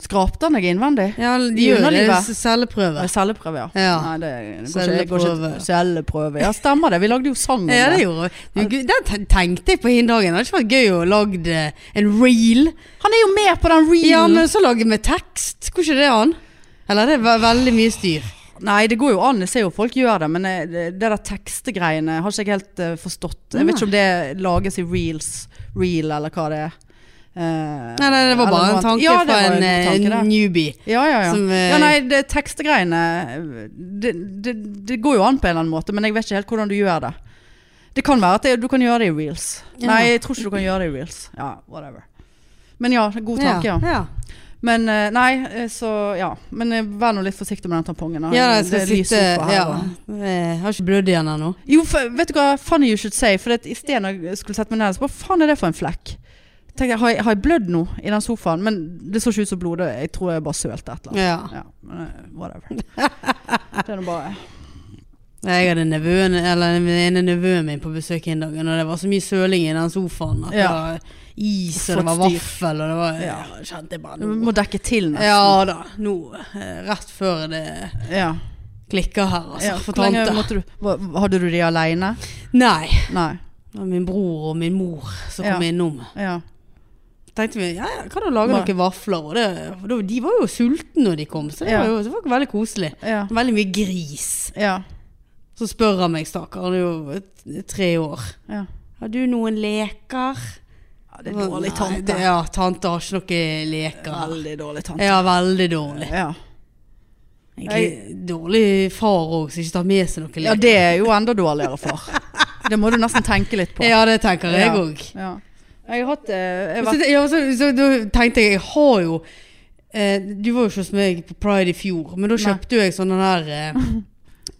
A: Skrapte han deg innvendig?
B: Ja,
A: I
B: de gjør det.
A: underlivet?
B: s- Celleprøve.
A: Ja, Celleprøve, ja.
B: Ja.
A: Nei, det, det går ikke, går
B: Celleprøve.
A: ikke, celleprøve. Ja, stemmer det. Vi lagde jo sang
B: [LAUGHS]
A: om
B: Ja, det gjorde jeg. Du, Den te- tenkte jeg på hin dagen. Det hadde ikke vært gøy å lage en reel.
A: Han er jo med på den reelen.
B: Ja, men så lage med tekst. Skulle ikke det han? Eller det var veldig mye styr.
A: Nei, det går jo an. Jeg ser jo folk gjør det, men eh, det det der tekstegreiene har ikke jeg helt eh, forstått. Jeg vet ikke om det lages i reels, reel eller hva det er. Eh,
B: Nei, nei, det var bare
A: eller
B: en
A: noe annet.
B: tanke
A: ja, det
B: fra
A: var
B: en,
A: tanke,
B: eh,
A: det.
B: newbie.
A: Ja, ja, ja.
B: som, eh,
A: ja nei, det tekstegreiene eh, det, det, det går jo an på en eller annen måte, men jeg vet ikke helt hvordan du gjør det. Det kan være at det, du kan gjøre det i reels.
B: Ja.
A: Nei, jeg tror ikke du kan gjøre det i reels. Ja, whatever. Men ja, god tanke, ja.
B: ja.
A: Men eh, nei, eh, så ja. Men eh, vær nå litt forsiktig med den tampongen. da.
B: Ja, jeg skal
A: det er lys
B: sitte
A: oppå her,
B: ja.
A: da.
B: Jeg har ikke blødd igjen ennå.
A: Jo, for, vet du hva? Funny you should say. For det, at i stedet når jeg skulle sette meg ned, så hva faen er det for en flekk? Tenkte jeg, har, jeg, har jeg blødd nå i den sofaen? Men det så ikke ut som blod. det- Jeg tror jeg bare sølte et eller annet.
B: Ja.
A: Ja, men eh, whatever. Det er nå bare
B: Jeg hadde nevøen, eller den ene nevøen min på besøk en dag, og det var så mye søling i den sofaen. At
A: Ja.
B: det var is, og det
A: Flott
B: var
A: styr.
B: vaffel, og det var ja.
A: [LAUGHS] Ja.
B: Kjente jeg bare
A: Du
B: nå.
A: må dekke til nesten.
B: Ja da, nå. eh, Rett før det
A: ja.
B: klikker her, altså.
A: ja
B: for
A: hvor lenge
B: tante.
A: måtte du hva- Hadde du de aleine?
B: Nei.
A: Nei.
B: Det var min bror og min mor som kom
A: Ja.
B: innom.
A: Ja.
B: Tenkte vi, ja, ja, kan du lage
A: Hva?
B: noen vafler? Og det, for da- de var jo sultne når de kom, så det
A: Ja.
B: var jo det var veldig koselig.
A: Ja.
B: Veldig mye gris.
A: Ja.
B: Så spør han meg, stakkar, han er jo t- tre år.
A: ja.
B: Har du noen leker?
A: ja det er
B: Nei,
A: dårlig
B: det-
A: tante.
B: Ja, tante har ikke noen leker.
A: Veldig dårlig tante.
B: Ja, veldig dårlig.
A: Ja.
B: Egentlig dårlig far òg, som ikke tar med seg noen leker.
A: Ja, det er jo enda dårligere [LAUGHS] for. Det må du nesten tenke litt på.
B: Ja, det tenker jeg
A: Ja.
B: òg.
A: Ja. Jeg har hatt eh, jeg har
B: Så,
A: vært-
B: ja, så, så da tenkte jeg, jeg har jo eh, Du var jo ikke hos meg på Pride i fjor, men da
A: Nei.
B: kjøpte jo jeg sånne der
A: [LAUGHS]
B: eh,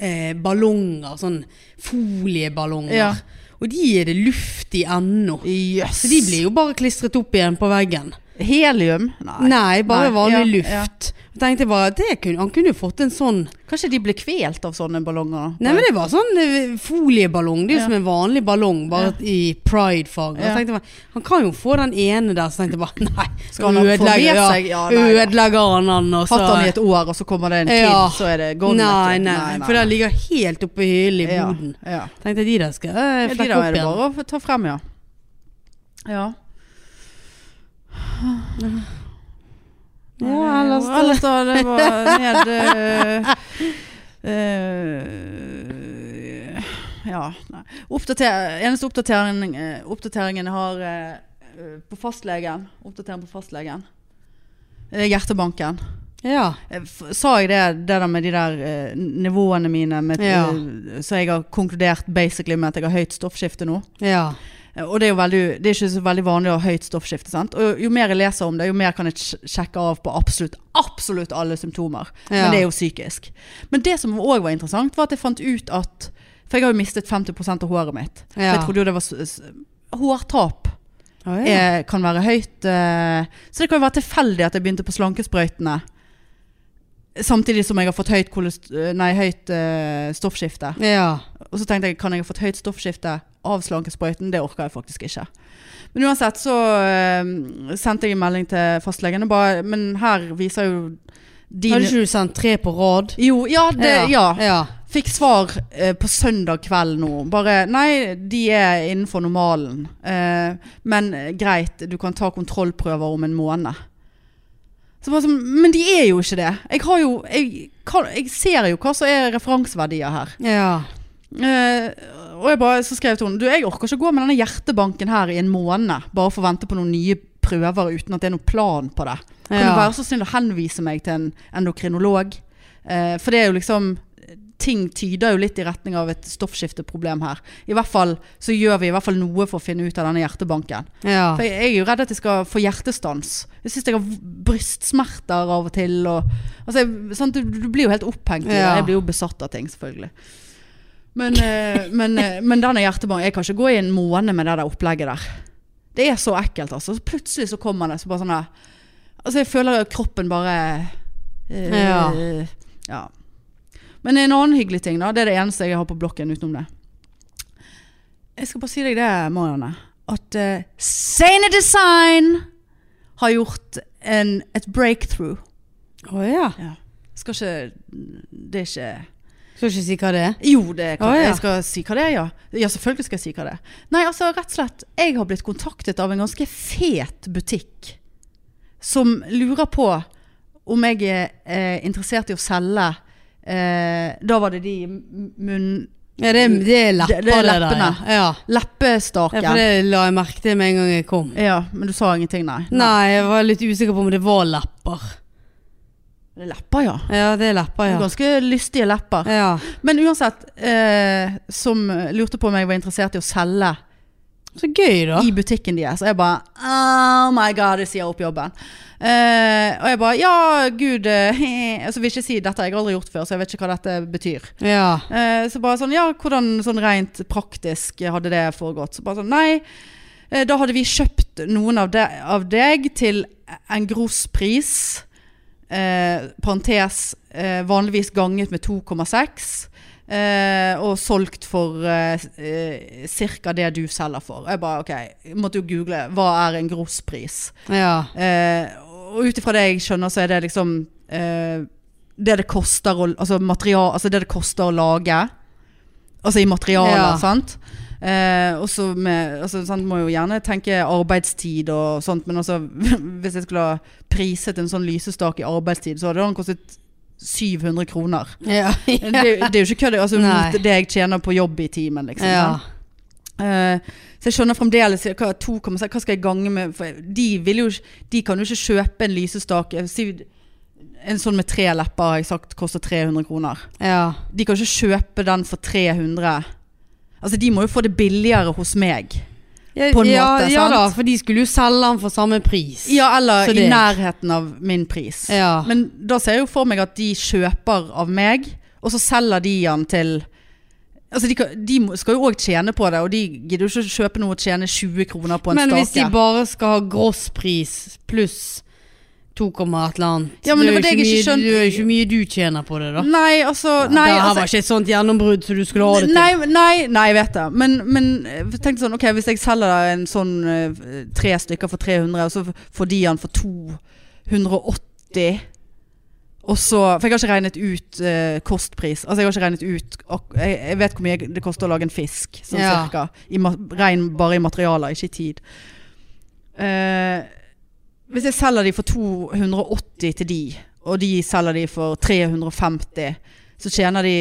B: eh, ballonger, sånn folieballonger.
A: Ja.
B: Og de er det luft i ennå.
A: Jøss.
B: Så de blir jo bare klistret opp igjen på veggen.
A: Helium? Nei.
B: Nei, bare
A: Nei,
B: vanlig
A: ja, ja.
B: luft. Jeg tenkte bare, det kunne, han kunne jo fått en sånn
A: Kanskje de ble kvelt av sånne ballonger? da?
B: Nei, men det var sånn eh, folieballong. Det er jo
A: Ja.
B: som en vanlig ballong, bare i pride-farger.
A: Ja.
B: Jeg tenkte bare, Han kan jo få den ene der, så tenkte jeg bare [LAUGHS] nei.
A: Skal han ha- få med
B: ja,
A: seg? Ja, nei, da.
B: ødelegger han han, og så
A: Fatt han i et år, og så kommer det en til,
B: Ja.
A: så er det
B: nei,
A: gone.
B: nei, for den ligger helt oppe i hyllen i
A: ja,
B: boden.
A: ja.
B: Tenkte jeg de der skal eh,
A: Ja, de
B: flekke
A: der er
B: opp
A: det
B: igjen.
A: bare å ta frem, ja. Ja,
B: Ja,
A: Eh,
B: ellers
A: da Ellers da, det [LAUGHS] var ned eh, eh, Ja, nei. Oppdater, eneste oppdatering, eh, oppdateringen jeg har eh, på fastlegen Oppdatering på fastlegen. eh, Hjertebanken.
B: Ja.
A: Eh, f- Sa jeg det, det der med de der eh, nivåene mine, med,
B: Ja.
A: eh, så jeg har konkludert basically med at jeg har høyt stoffskifte nå?
B: ja.
A: Eh, Og det er jo veldig, det er ikke så veldig vanlig å ha høyt stoffskifte. sant? Og jo mer jeg leser om det, jo mer kan jeg sj- sjekke av på absolutt, absolutt alle symptomer.
B: Ja.
A: Men det er jo psykisk. Men det som òg var interessant, var at jeg fant ut at For jeg har jo mistet 50 av håret mitt. Så
B: Ja.
A: Jeg trodde jo det var s s Hårtap
B: Å, ja.
A: er, kan være høyt. eh, så det kan jo være tilfeldig at jeg begynte på slankesprøytene. Samtidig som jeg har fått høyt, kolest nei, høyt eh, stoffskifte.
B: ja.
A: Og så tenkte jeg, kan jeg ha fått høyt stoffskifte av slankesprøyten? Det orker jeg faktisk ikke. Men uansett så eh, sendte jeg en melding til fastlegen og bare Men her viser jo
B: Hadde
A: din
B: ikke du sendt tre på rad?
A: Jo, ja, det, ja.
B: ja.
A: Fikk svar eh, på søndag kveld nå. Bare Nei, de er innenfor normalen. Eh, men eh, greit, du kan ta kontrollprøver om en måned. Så bare sånn, men de er jo ikke det. Jeg, har jo, jeg, kan, jeg ser jo hva som er referanseverdier her.
B: Ja.
A: Eh, og jeg bare, så skrev jeg til henne Du, jeg orker ikke gå med denne hjertebanken her i en måned Bare for å vente på noen nye prøver Uten at det er noen plan på det Kan
B: Ja.
A: du være så snill å henvise meg til en endokrinolog Eh, For det er jo liksom Ting tyder jo litt i retning av et stoffskifteproblem her I hvert fall så gjør vi i hvert fall noe For å finne ut av denne hjertebanken
B: ja.
A: For jeg, jeg er jo redd at jeg skal få hjertestans Jeg synes jeg har v- brystsmerter av og til og, altså, jeg, sant, du, du blir jo helt opphengt i det.
B: Ja.
A: Jeg blir jo besatt av ting selvfølgelig Men, eh, men, eh, men denne hjertebanken Jeg kan ikke gå i en måned med det der opplegget der Det er så ekkelt altså så Plutselig så kommer det så bare sånn der Altså jeg føler at kroppen bare eh,
B: Ja.
A: ja Men en annen hyggelig ting da Det er det eneste jeg har på blokken utenom det jeg skal bare si deg det, Marianne. At uh, Sane Design har gjort en, et breakthrough.
B: Å ja.
A: Skal ikke Det er ikke
B: Skal ikke si hva det er.
A: Jo, det kan,
B: Å, ja.
A: jeg skal si hva det er, ja. Ja, selvfølgelig skal jeg si hva det er. Nei, altså rett og slett. Jeg har blitt kontaktet av en ganske fet butikk som lurer på om jeg er eh, interessert i å selge eh, Da var det de munn...
B: Ja, det, er- det er lepper, det,
A: Det- det er
B: der.
A: leppene.
B: Ja. Ja.
A: Leppestaken.
B: ja, for det la jeg merke til med en gang jeg kom.
A: Ja, men du sa ingenting, nei?
B: Nei, jeg var litt usikker på om det var lepper.
A: Lepper, ja.
B: Ja, det er lepper, ja.
A: Ganske lystige lepper.
B: ja.
A: Men uansett, eh, som lurte på om jeg var interessert i å selge
B: Så gøy, da.
A: i butikken deres. Og jeg bare Oh my god, det sier jeg opp jobben. Eh, og jeg bare Ja, gud eh, [LAUGHS] Altså, vil ikke si dette, jeg har aldri gjort før, så jeg vet ikke hva dette betyr.
B: Ja.
A: Eh, så bare sånn, ja, hvordan sånn rent praktisk hadde det foregått? Så bare sånn, nei, eh, da hadde vi kjøpt noen av, de, av deg til en gross pris, eh, parentes, eh, vanligvis ganget med 2,6, eh, og solgt for eh, eh, cirka det du selger for. Og Jeg bare, ok, jeg måtte jo google, hva er en gross pris?
B: Ja.
A: Eh, og ut ifra det jeg skjønner, så er det liksom eh, det det koster å altså, material, altså det det koster å lage. Altså i materialer,
B: Ja.
A: sant. Eh, og så med altså, sant, Må jo gjerne tenke arbeidstid og sånt, men altså [LAUGHS] Hvis jeg skulle ha priset en sånn lysestak i arbeidstid, så hadde den kostet 700
B: [LAUGHS]
A: kroner.
B: Ja.
A: Det, [LAUGHS] det er jo ikke kødd. Altså,
B: Nei.
A: mot det jeg tjener på jobb i timen, liksom.
B: ja.
A: sant? Eh, så jeg skjønner fremdeles hva, 2,6 hva skal jeg gange med? For de, vil jo, ikke- de kan jo ikke kjøpe en lysestak. Jeg vil si En sånn med tre lepper har jeg sagt koster 300 kroner.
B: ja.
A: De kan ikke kjøpe den for 300. Altså De må jo få det billigere hos meg.
B: Ja,
A: På en
B: ja,
A: måte,
B: ja
A: sant?
B: da, for de skulle jo selge den for samme pris.
A: Ja, Eller
B: Så
A: i
B: det-
A: nærheten av min pris.
B: Ja.
A: Men da ser jeg jo for meg at de kjøper av meg, og så selger de den til Altså de, kan, de må- skal jo òg tjene på det, og de gidder jo ikke å kjøpe noe og tjene 20 kroner på en
B: Men hvis de
A: stake.
B: bare skal ha grosspris pluss 2, et eller annet
A: Ja, men
B: er
A: det var
B: jo
A: det jeg ikke
B: mye-
A: skjønte.
B: Det er jo ikke mye du tjener på det, da.
A: Nei, altså Nei,
B: det her
A: altså,
B: var ikke et sånt gjennombrudd som du skulle ha det til.
A: nei, nei, nei, jeg vet det. Men, men eh, tenk sånn, ok, hvis jeg selger en sånn eh, tre stykker for 300, og så f- får de han for 280 og så, For jeg har ikke regnet ut eh, kostpris. Altså Jeg har ikke regnet ut ak- jeg, jeg vet hvor mye det koster å lage en fisk, sånn
B: Ja.
A: cirka. I ma regn bare i materialer, ikke i tid. Eh, hvis jeg selger de for 280 til de, og de selger de for 350, så tjener de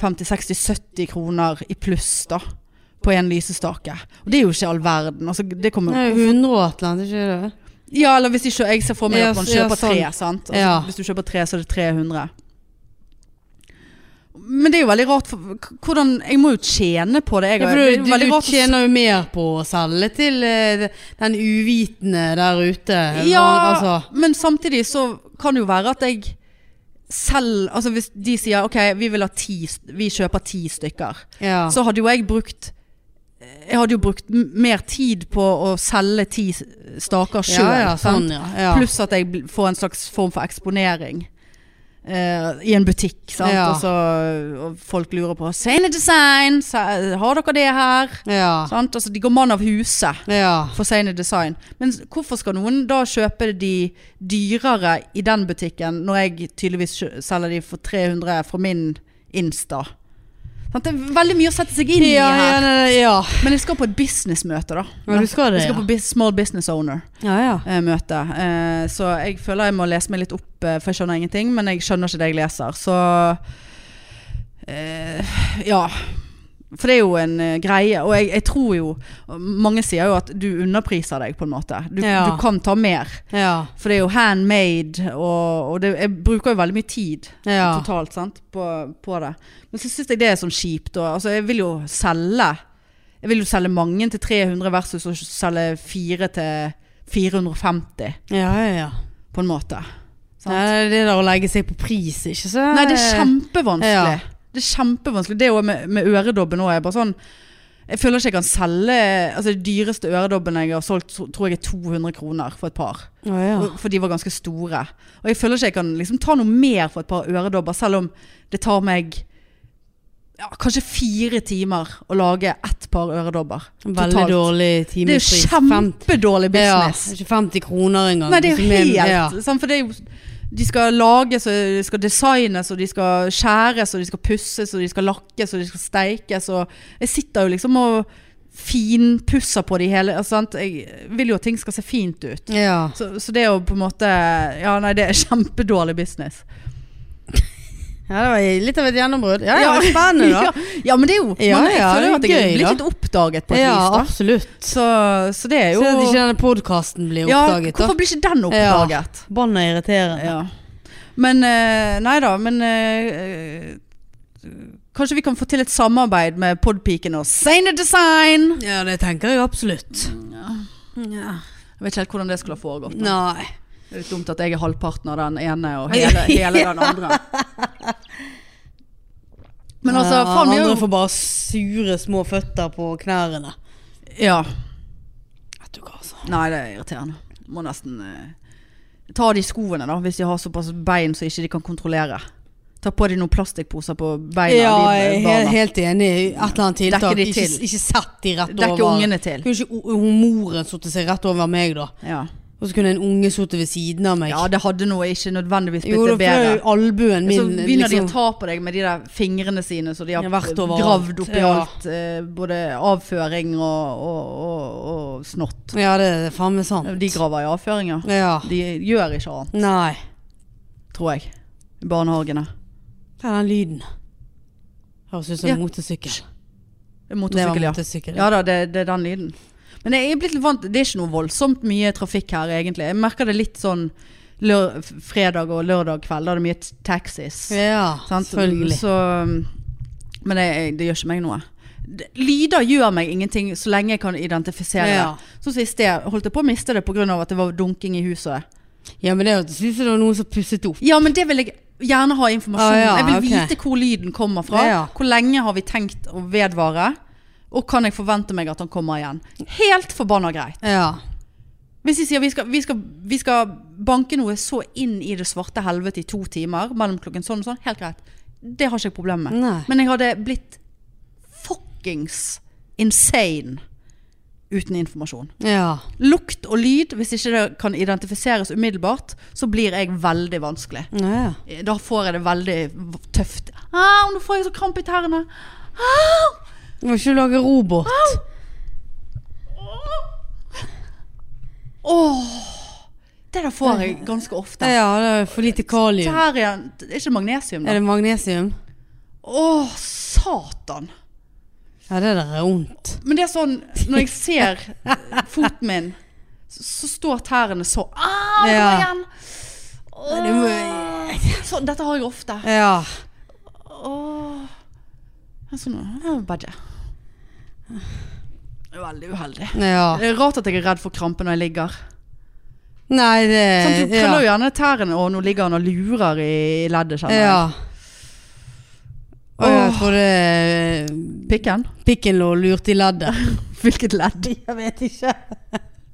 A: 50-60-70 kroner i pluss da, på en lysestake. Og det er jo ikke all verden. Altså, det
B: Det
A: kommer,
B: er jo 100 og et eller annet, ikke det?
A: ja, eller hvis de kjø, jeg ser for meg
B: Ja,
A: at man
B: s- ja,
A: kjøper
B: sånn.
A: tre, sant? Altså,
B: Ja.
A: Hvis du kjøper tre, så er det 300. Men det er jo veldig rart, for k- hvordan, jeg må jo tjene på det. Jeg,
B: Ja,
A: har-
B: for
A: det
B: du,
A: er jo
B: du,
A: veldig
B: du
A: rart å
B: tjener jo mer på å selge til eh, den uvitende der ute.
A: Ja,
B: Hva- altså.
A: men samtidig så kan det jo være at jeg selv Altså hvis de sier ok, vi, vil ha ti, st- vi kjøper ti stykker,
B: ja.
A: så hadde jo jeg brukt eh, jeg hadde jo brukt m- mer tid på å selge ti s- staker sjøl.
B: ja, ja, sånn, ja. ja.
A: Pluss at jeg bl- får en slags form for eksponering eh, i en butikk. Sant?
B: Ja.
A: Og, så, og folk lurer på Sane design, sa- har dere det her?
B: ja.
A: Sant? Altså, de går mann av huset
B: ja.
A: for sene design. Men s- hvorfor skal noen da kjøpe de dyrere i den butikken, når jeg tydeligvis kjø- selger de for 300 fra min Insta? Sant? Det er veldig mye å sette seg inn i
B: Ja, ja, nei,
A: her.
B: nei, ja.
A: Men jeg skal på et businessmøte, da.
B: Ja, du skal det,
A: jeg
B: ja.
A: skal på bus- Small Business Owner-møte.
B: Ja, ja.
A: Eh, så jeg føler jeg må lese meg litt opp, eh, for jeg skjønner ingenting. Men jeg skjønner ikke det jeg leser, så eh, Ja. For det er jo en eh, greie, og jeg, jeg tror jo Mange sier jo at du underpriser deg, på en måte. Du,
B: Ja.
A: du kan ta mer.
B: Ja,
A: For det er jo handmade, og, og det, jeg bruker jo veldig mye tid
B: ja.
A: totalt sant? På, på det. Men så syns jeg det er sånn kjipt. Og, altså, jeg vil jo selge. Jeg vil jo selge mange til 300 versus å selge fire til 450,
B: ja, ja, ja.
A: på en måte. Sant?
B: Nei, det er det der å legge seg på pris, ikke så
A: Nei, det er kjempevanskelig.
B: Eh, Ja.
A: Det er kjempevanskelig. Det er jo med, med øredobben òg. Jeg, bare sånn, jeg føler ikke jeg kan selge altså, De dyreste øredobbene jeg har solgt, tro- tror jeg er 200 kroner for et par.
B: Å, ja.
A: Og- For de var ganske store. Og jeg føler ikke jeg kan liksom ta noe mer for et par øredobber, selv om det tar meg ja, kanskje fire timer å lage ett par øredobber.
B: Veldig
A: totalt.
B: dårlig
A: Det er
B: timepris.
A: jo kjempedårlig business.
B: Ja, ikke 50 kroner engang.
A: Nei, det er jo
B: Som
A: helt
B: ja.
A: sant, For det er jo de skal lages, og de skal designes, og de skal skjæres, og de skal pusses, og de skal lakkes, og de skal steikes. Og jeg sitter jo liksom og finpusser på de hele. Altså, sant? Jeg vil jo at ting skal se fint ut.
B: ja.
A: Så, så det er jo på en måte Ja, nei, det er kjempedårlig business.
B: Ja, det var litt av et gjennombrudd. Ja, ja,
A: Ja.
B: men spennende da.
A: [LAUGHS] ja, ja, men det er jo
B: Ja,
A: man, Jeg
B: ja,
A: føler jo at
B: det er
A: jeg er
B: gøy,
A: blitt
B: da.
A: litt oppdaget på et
B: ja,
A: vis, da.
B: absolutt.
A: Så, så det er jo
B: Så at ikke denne podkasten blir
A: ja,
B: oppdaget,
A: Hvorfor
B: da.
A: blir ikke den oppdaget?
B: Banna irriterende.
A: Ja. Men eh, Nei da, men eh, eh, Kanskje vi kan få til et samarbeid med Podpikene og Sane Design?
B: Ja, det tenker jeg absolutt. Ja.
A: Jeg vet ikke helt hvordan det skulle ha foregått. men
B: Nei.
A: Det er litt dumt at jeg er halvparten av den ene og hele,
B: [LAUGHS]
A: hele den andre. Men altså,
B: Ja,
A: faen, vi er
B: Eh, andre
A: jo
B: får bare sure små føtter på knærne.
A: Ja.
B: Vet du hva, altså.
A: Nei, det er irriterende. Må nesten eh, ta de skoene, da, hvis de har såpass bein så ikke de kan kontrollere. Ta på de noen plastikkposer på beina.
B: Ja,
A: de,
B: jeg er
A: barna.
B: he- helt enig. Et eller annet
A: Dekke
B: tiltak.
A: de
B: Ikke,
A: til.
B: ikke sett de rett over.
A: Dekke ungene til.
B: Kunne ikke o- hun moren sittet seg rett over meg, da?
A: Ja.
B: Og så kunne en unge sittet ved siden av meg.
A: Ja, det hadde noe ikke nødvendigvis blitt
B: jo, da
A: det bedre.
B: fløy albuen min
A: så begynner
B: liksom
A: de å ta på deg med de der fingrene sine som de har
B: Ja, vært overalt.
A: gravd opp i
B: Ja.
A: alt. eh, Både avføring og, og, og, og snott.
B: Ja, det er faen meg sant.
A: De graver i avføring, ja.
B: Ja.
A: De gjør ikke annet,
B: Nei.
A: tror jeg. I barnehagene.
B: Hva er den lyden? Høres ut som
A: Ja.
B: en motorsykkel.
A: Det er
B: Det var
A: Motorsykkel, ja.
B: motorsykkel.
A: Ja da, det, det er den lyden. Men jeg er blitt litt vant Det er ikke noe voldsomt mye trafikk her, egentlig. Jeg merker det litt sånn lør, fredag og lørdag kveld. Da er det mye t- taxis.
B: Ja,
A: Sant?
B: selvfølgelig.
A: Så, mm, men det, det gjør ikke meg noe. Det- Lyder gjør meg ingenting så lenge jeg kan identifisere
B: Ja.
A: det. Sånn som i sted, holdt jeg på å miste det pga. at det var dunking i huset.
B: Ja, men det synes jeg det var noen som pusset opp.
A: Ja, men det vil jeg Gjerne ha informasjon.
B: Å, ja,
A: jeg vil
B: ok.
A: vite hvor lyden kommer fra.
B: Ja.
A: Hvor lenge har vi tenkt å vedvare? Og kan jeg forvente meg at han kommer igjen? Helt forbanna greit.
B: Ja.
A: Hvis de sier vi skal, vi, skal, vi skal banke noe så inn i det svarte helvete i to timer, mellom klokken sånn og sånn, helt greit. Det har ikke jeg problemer med.
B: Nei.
A: Men jeg hadde blitt fuckings insane uten informasjon.
B: Ja.
A: Lukt og lyd, hvis ikke det kan identifiseres umiddelbart, så blir jeg veldig vanskelig.
B: Ja, ja.
A: Eh, Da får jeg det veldig v- tøft. Au, nå får jeg så kramp i tærne. Au!
B: Du må ikke lage robot.
A: Åh! Det der får jeg ganske ofte.
B: Ja, det er for lite kalium.
A: Der igjen. Det er ikke magnesium,
B: Er
A: da.
B: det magnesium?
A: Åh, satan!
B: Ja, det der er vondt.
A: Men det er sånn, når jeg ser foten min, så, så står tærne så Au, kom
B: Ja.
A: igjen!
B: det må-
A: Åh! Sånn, dette har jeg ofte.
B: Ja.
A: Åh. En sånn øh, badge. Veldig uheldig.
B: ja.
A: Det er rart at jeg er redd for krampe når jeg ligger.
B: Nei, det
A: Sant, du
B: Sånn Eh, ja.
A: krøller jo gjerne tærne, og nå ligger han og lurer i leddet, kjenner jeg.
B: Ja. Og jeg
A: Åh.
B: trodde eh,
A: Pikken?
B: pikken lå lurt i leddet.
A: Hvilket ledd?
B: [LAUGHS] Jeg vet ikke.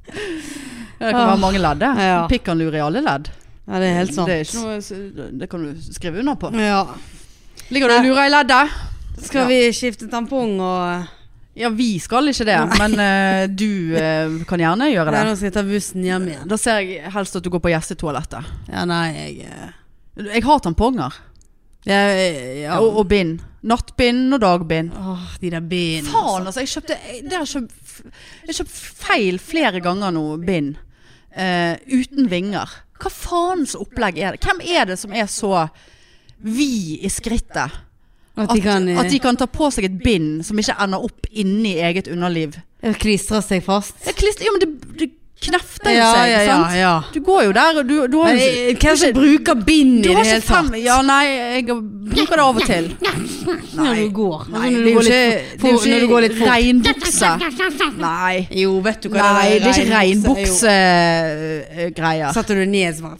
A: Det kan være mange ledd. det.
B: Ah. Ja.
A: Pikken lurer i alle ledd.
B: Ja, det er helt sant.
A: Det, er ikke noe, s- det kan du skrive under på.
B: Ja.
A: Ligger du og lurer i leddet?
B: Skal vi skifte tampong og
A: Ja, vi skal ikke det, men eh, du eh, kan gjerne gjøre
B: Nei,
A: det.
B: nå skal jeg ta bussen hjem igjen.
A: Da ser jeg helst at du går på gjestetoalettet.
B: Ja, nei, jeg eh,
A: Jeg har tamponger.
B: Jeg, ja.
A: Og, og bind. Nattbind og dagbind.
B: Åh, de der bena.
A: Faen, altså. Jeg kjøpte jeg- det har kjøpt, jeg har kjøpt feil flere ganger nå, bind. Eh, uten vinger. Hva faens opplegg er det? Hvem er det som er så vid i
B: At
A: skrittet at,
B: de kan eh,
A: at de kan ta på seg et bind som ikke ender opp inni eget underliv?
B: klistre seg fast.
A: Det klistrer- jo, men det, det knefter jo
B: Ja,
A: seg,
B: ja, ja.
A: sant?
B: ja.
A: Du går jo der, og du, du har
B: Men,
A: jo
B: eh, Hvem som bruker bind i
A: du
B: det
A: har
B: hele
A: ikke
B: tatt?
A: fem Ja, nei, jeg bruker det av og til.
B: Når du går.
A: Nei,
B: Altså,
A: det er jo ikke,
B: litt
A: det er jo
B: fort- når du går litt
A: ikke
B: fort.
A: regnbukse. Nei.
B: Jo, vet du hva
A: Nei, det er ikke
B: Jo.
A: regnbuksegreier.
B: Setter du ned sånn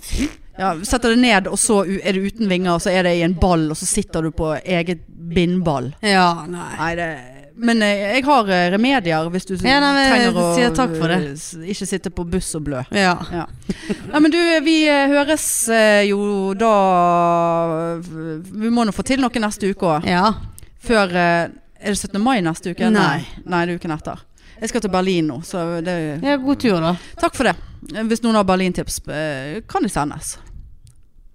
A: Ja, setter det ned, og så u- er det uten vinger, og så er det i en ball, og så sitter du på eget bindball.
B: Ja, nei.
A: Nei, det Men eh, jeg har eh, remedier hvis du s-
B: Ja, nei, men
A: trenger å
B: jeg sier takk for det.
A: eh, s- ikke sitte på buss og blø.
B: Ja.
A: Ja. Nei, men du, vi eh, høres eh, jo da eh, Vi må nå få til noe neste uke òg.
B: ja.
A: Før eh, Er det 17. mai neste uke?
B: Nei.
A: Nei, det er uken etter. Jeg skal til Berlin nå, så det
B: Ja, god tur, da.
A: Takk for det. Hvis noen har Berlintips, eh, kan de sendes.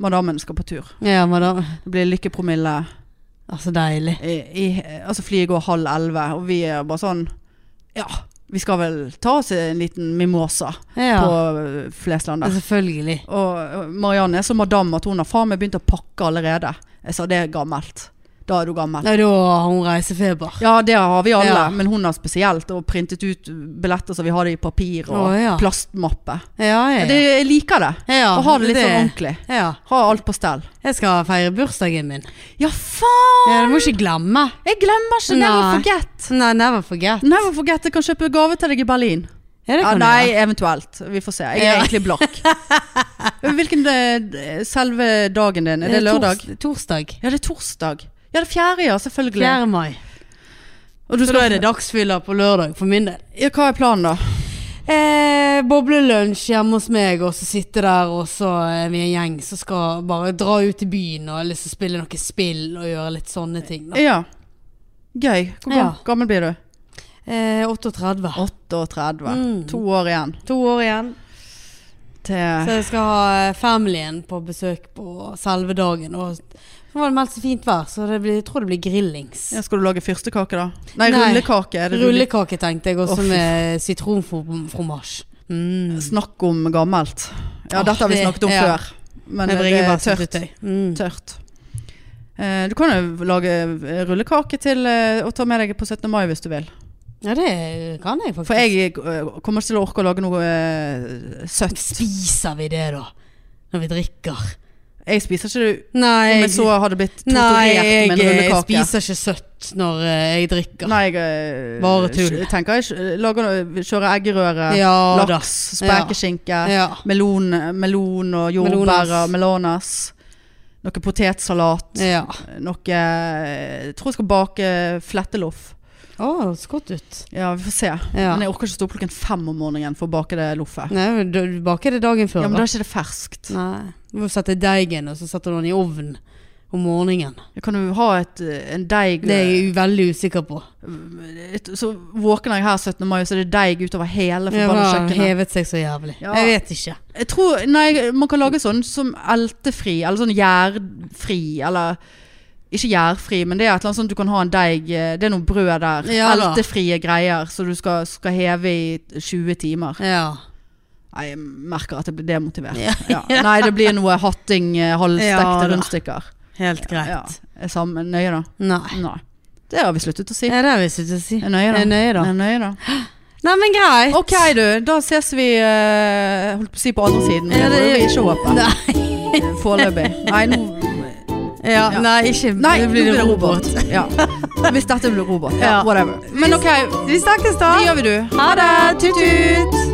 A: Madammen skal på tur.
B: Ja, madam.
A: Det blir lykkepromille.
B: Altså, deilig.
A: I, i, altså flyet går halv elleve, og vi er bare sånn Ja, vi skal vel ta oss en liten mimosa
B: Ja,
A: på eh, Fleslandet.
B: selvfølgelig.
A: Og Marianne er så madam at hun har faen meg begynt å pakke allerede. Jeg sa det er gammelt. Da er du gammel.
B: Nei, da har hun reisefeber.
A: Ja, det har vi alle,
B: Ja.
A: men hun har spesielt. Og printet ut billetter så vi har det i papir og
B: Å, ja.
A: plastmappe.
B: Ja, ja.
A: Det, jeg liker det.
B: ja,
A: Å ha det litt
B: det-
A: sånn ordentlig.
B: Ja.
A: Ha alt på stell.
B: Jeg skal feire bursdagen min.
A: Ja, faen!
B: Ja, du må ikke glemme.
A: Jeg glemmer ikke. Never
B: Nei.
A: forget.
B: Nei, never forget.
A: Never forget. Jeg kan kjøpe gave til deg i Berlin.
B: Ja, det
A: Ja,
B: kan du
A: nei,
B: gjøre.
A: eventuelt. Vi får se. Jeg er
B: Ja.
A: egentlig blakk.
B: [LAUGHS]
A: Hvilken eh, selve dagen din? Er det lørdag?
B: Eh, tors- Torsdag.
A: Ja, det er torsdag. Ja, det er fjerde, ja. Selvfølgelig.
B: 4. mai.
A: Og du
B: Så
A: skal,
B: da er det dagsfylla på lørdag for min del.
A: ja, hva er planen, da?
B: Eh, Boblelunsj hjemme hos meg, og så sitte der, og så er vi en gjeng som skal bare dra ut i byen og har lyst til å spille noen spill og gjøre litt sånne ting. Da.
A: Ja. Gøy. Hvor
B: Ja.
A: gam- gammel blir du?
B: Eh, 38.
A: 38.
B: Mm.
A: To år igjen
B: To år igjen.
A: til
B: Så jeg skal ha eh, familien på besøk på selve dagen. Og så var det meldt så fint vær, så det blir, jeg tror det blir grillings.
A: ja, Skal du lage fyrstekake, da? Nei,
B: Nei.
A: rullekake. Er det rulle...
B: Rullekake tenkte jeg,
A: Å,
B: også
A: fy.
B: med sitronfromasj. Mm.
A: Snakk om gammelt. Ja,
B: Åh,
A: dette har vi
B: det-
A: snakket om
B: ja.
A: før. Men
B: Med
A: det er tørt.
B: bringebærsyltetøy. Mm.
A: tørt. Eh, Du kan jo lage eh, rullekake til eh, og ta med deg på 17. mai hvis du vil.
B: Ja, det kan jeg faktisk.
A: For jeg eh, kommer ikke til å orke å lage noe eh, søtt.
B: Spiser vi det da? Når vi drikker?
A: Jeg spiser ikke det
B: Nei,
A: om jeg så hadde blitt
B: nei jeg,
A: torturert med en
B: eh,
A: rullekake.
B: spiser ikke søtt når eh, jeg drikker.
A: Nei, jeg eh,
B: Bare tull.
A: Jeg tenker jeg lager, noe- kjører eggerøre,
B: ja da.
A: laks, spekeskinke,
B: Ja.
A: melon, melon og jordbær
B: Melonas.
A: og melonas. Noe potetsalat.
B: Ja.
A: Noe Jeg tror jeg skal bake fletteloff.
B: Å, det så godt ut.
A: Ja, vi får se.
B: Ja.
A: Men jeg orker ikke stå opp klokken fem om morgenen for å bake det loffet.
B: Nei, men du du baker det dagen før,
A: Ja, men da
B: da.
A: er ikke det ferskt.
B: Nei. Du må sette deigen, og så setter du den i ovnen om morgenen.
A: Jeg kan jo ha et, eh, en deig
B: Det er jeg veldig usikker på.
A: et, Så våkner jeg her 17. mai, så er det deig utover hele
B: Det
A: forbanna
B: har
A: kjøkkenet.
B: hevet seg så jævlig.
A: Ja.
B: Jeg vet ikke.
A: Jeg tror, nei, man kan lage sånn som eltefri, eller sånn gjærfri, eller ikke gjærfri, men det er et eller annet sånn du kan ha en deig, eh, det er noe brød der.
B: Ja da.
A: Eltefrie greier, så du skal, skal heve i 20 timer.
B: Ja.
A: Nei, jeg merker at jeg blir demotivert.
B: Ja.
A: Ja. Nei, det blir noe hatting, eh, halvstekte
B: Ja da.
A: rundstykker.
B: Helt greit.
A: Ja, er samme nøye da.
B: Nei.
A: Nei, det har vi sluttet å si.
B: Ja, det har vi sluttet å si.
A: Er nøye da.
B: Er nøye da.
A: Er nøye da.
B: Nei, men greit.
A: Ok du, da ses vi, eh, holdt på å si på andre siden, men
B: Ja,
A: det
B: det-
A: får vi ikke håpe.
B: Nei.
A: Foreløpig. Nei, nå...
B: Ja,
A: Ja.
B: nei, ikke
A: Nei,
B: det blir det robot.
A: Ja. Hvis dette blir robot. Ja,
B: Ja.
A: whatever. Men ok,
B: Vi snakkes da.
A: det gjør vi du.
B: Ha det. Tut-tut.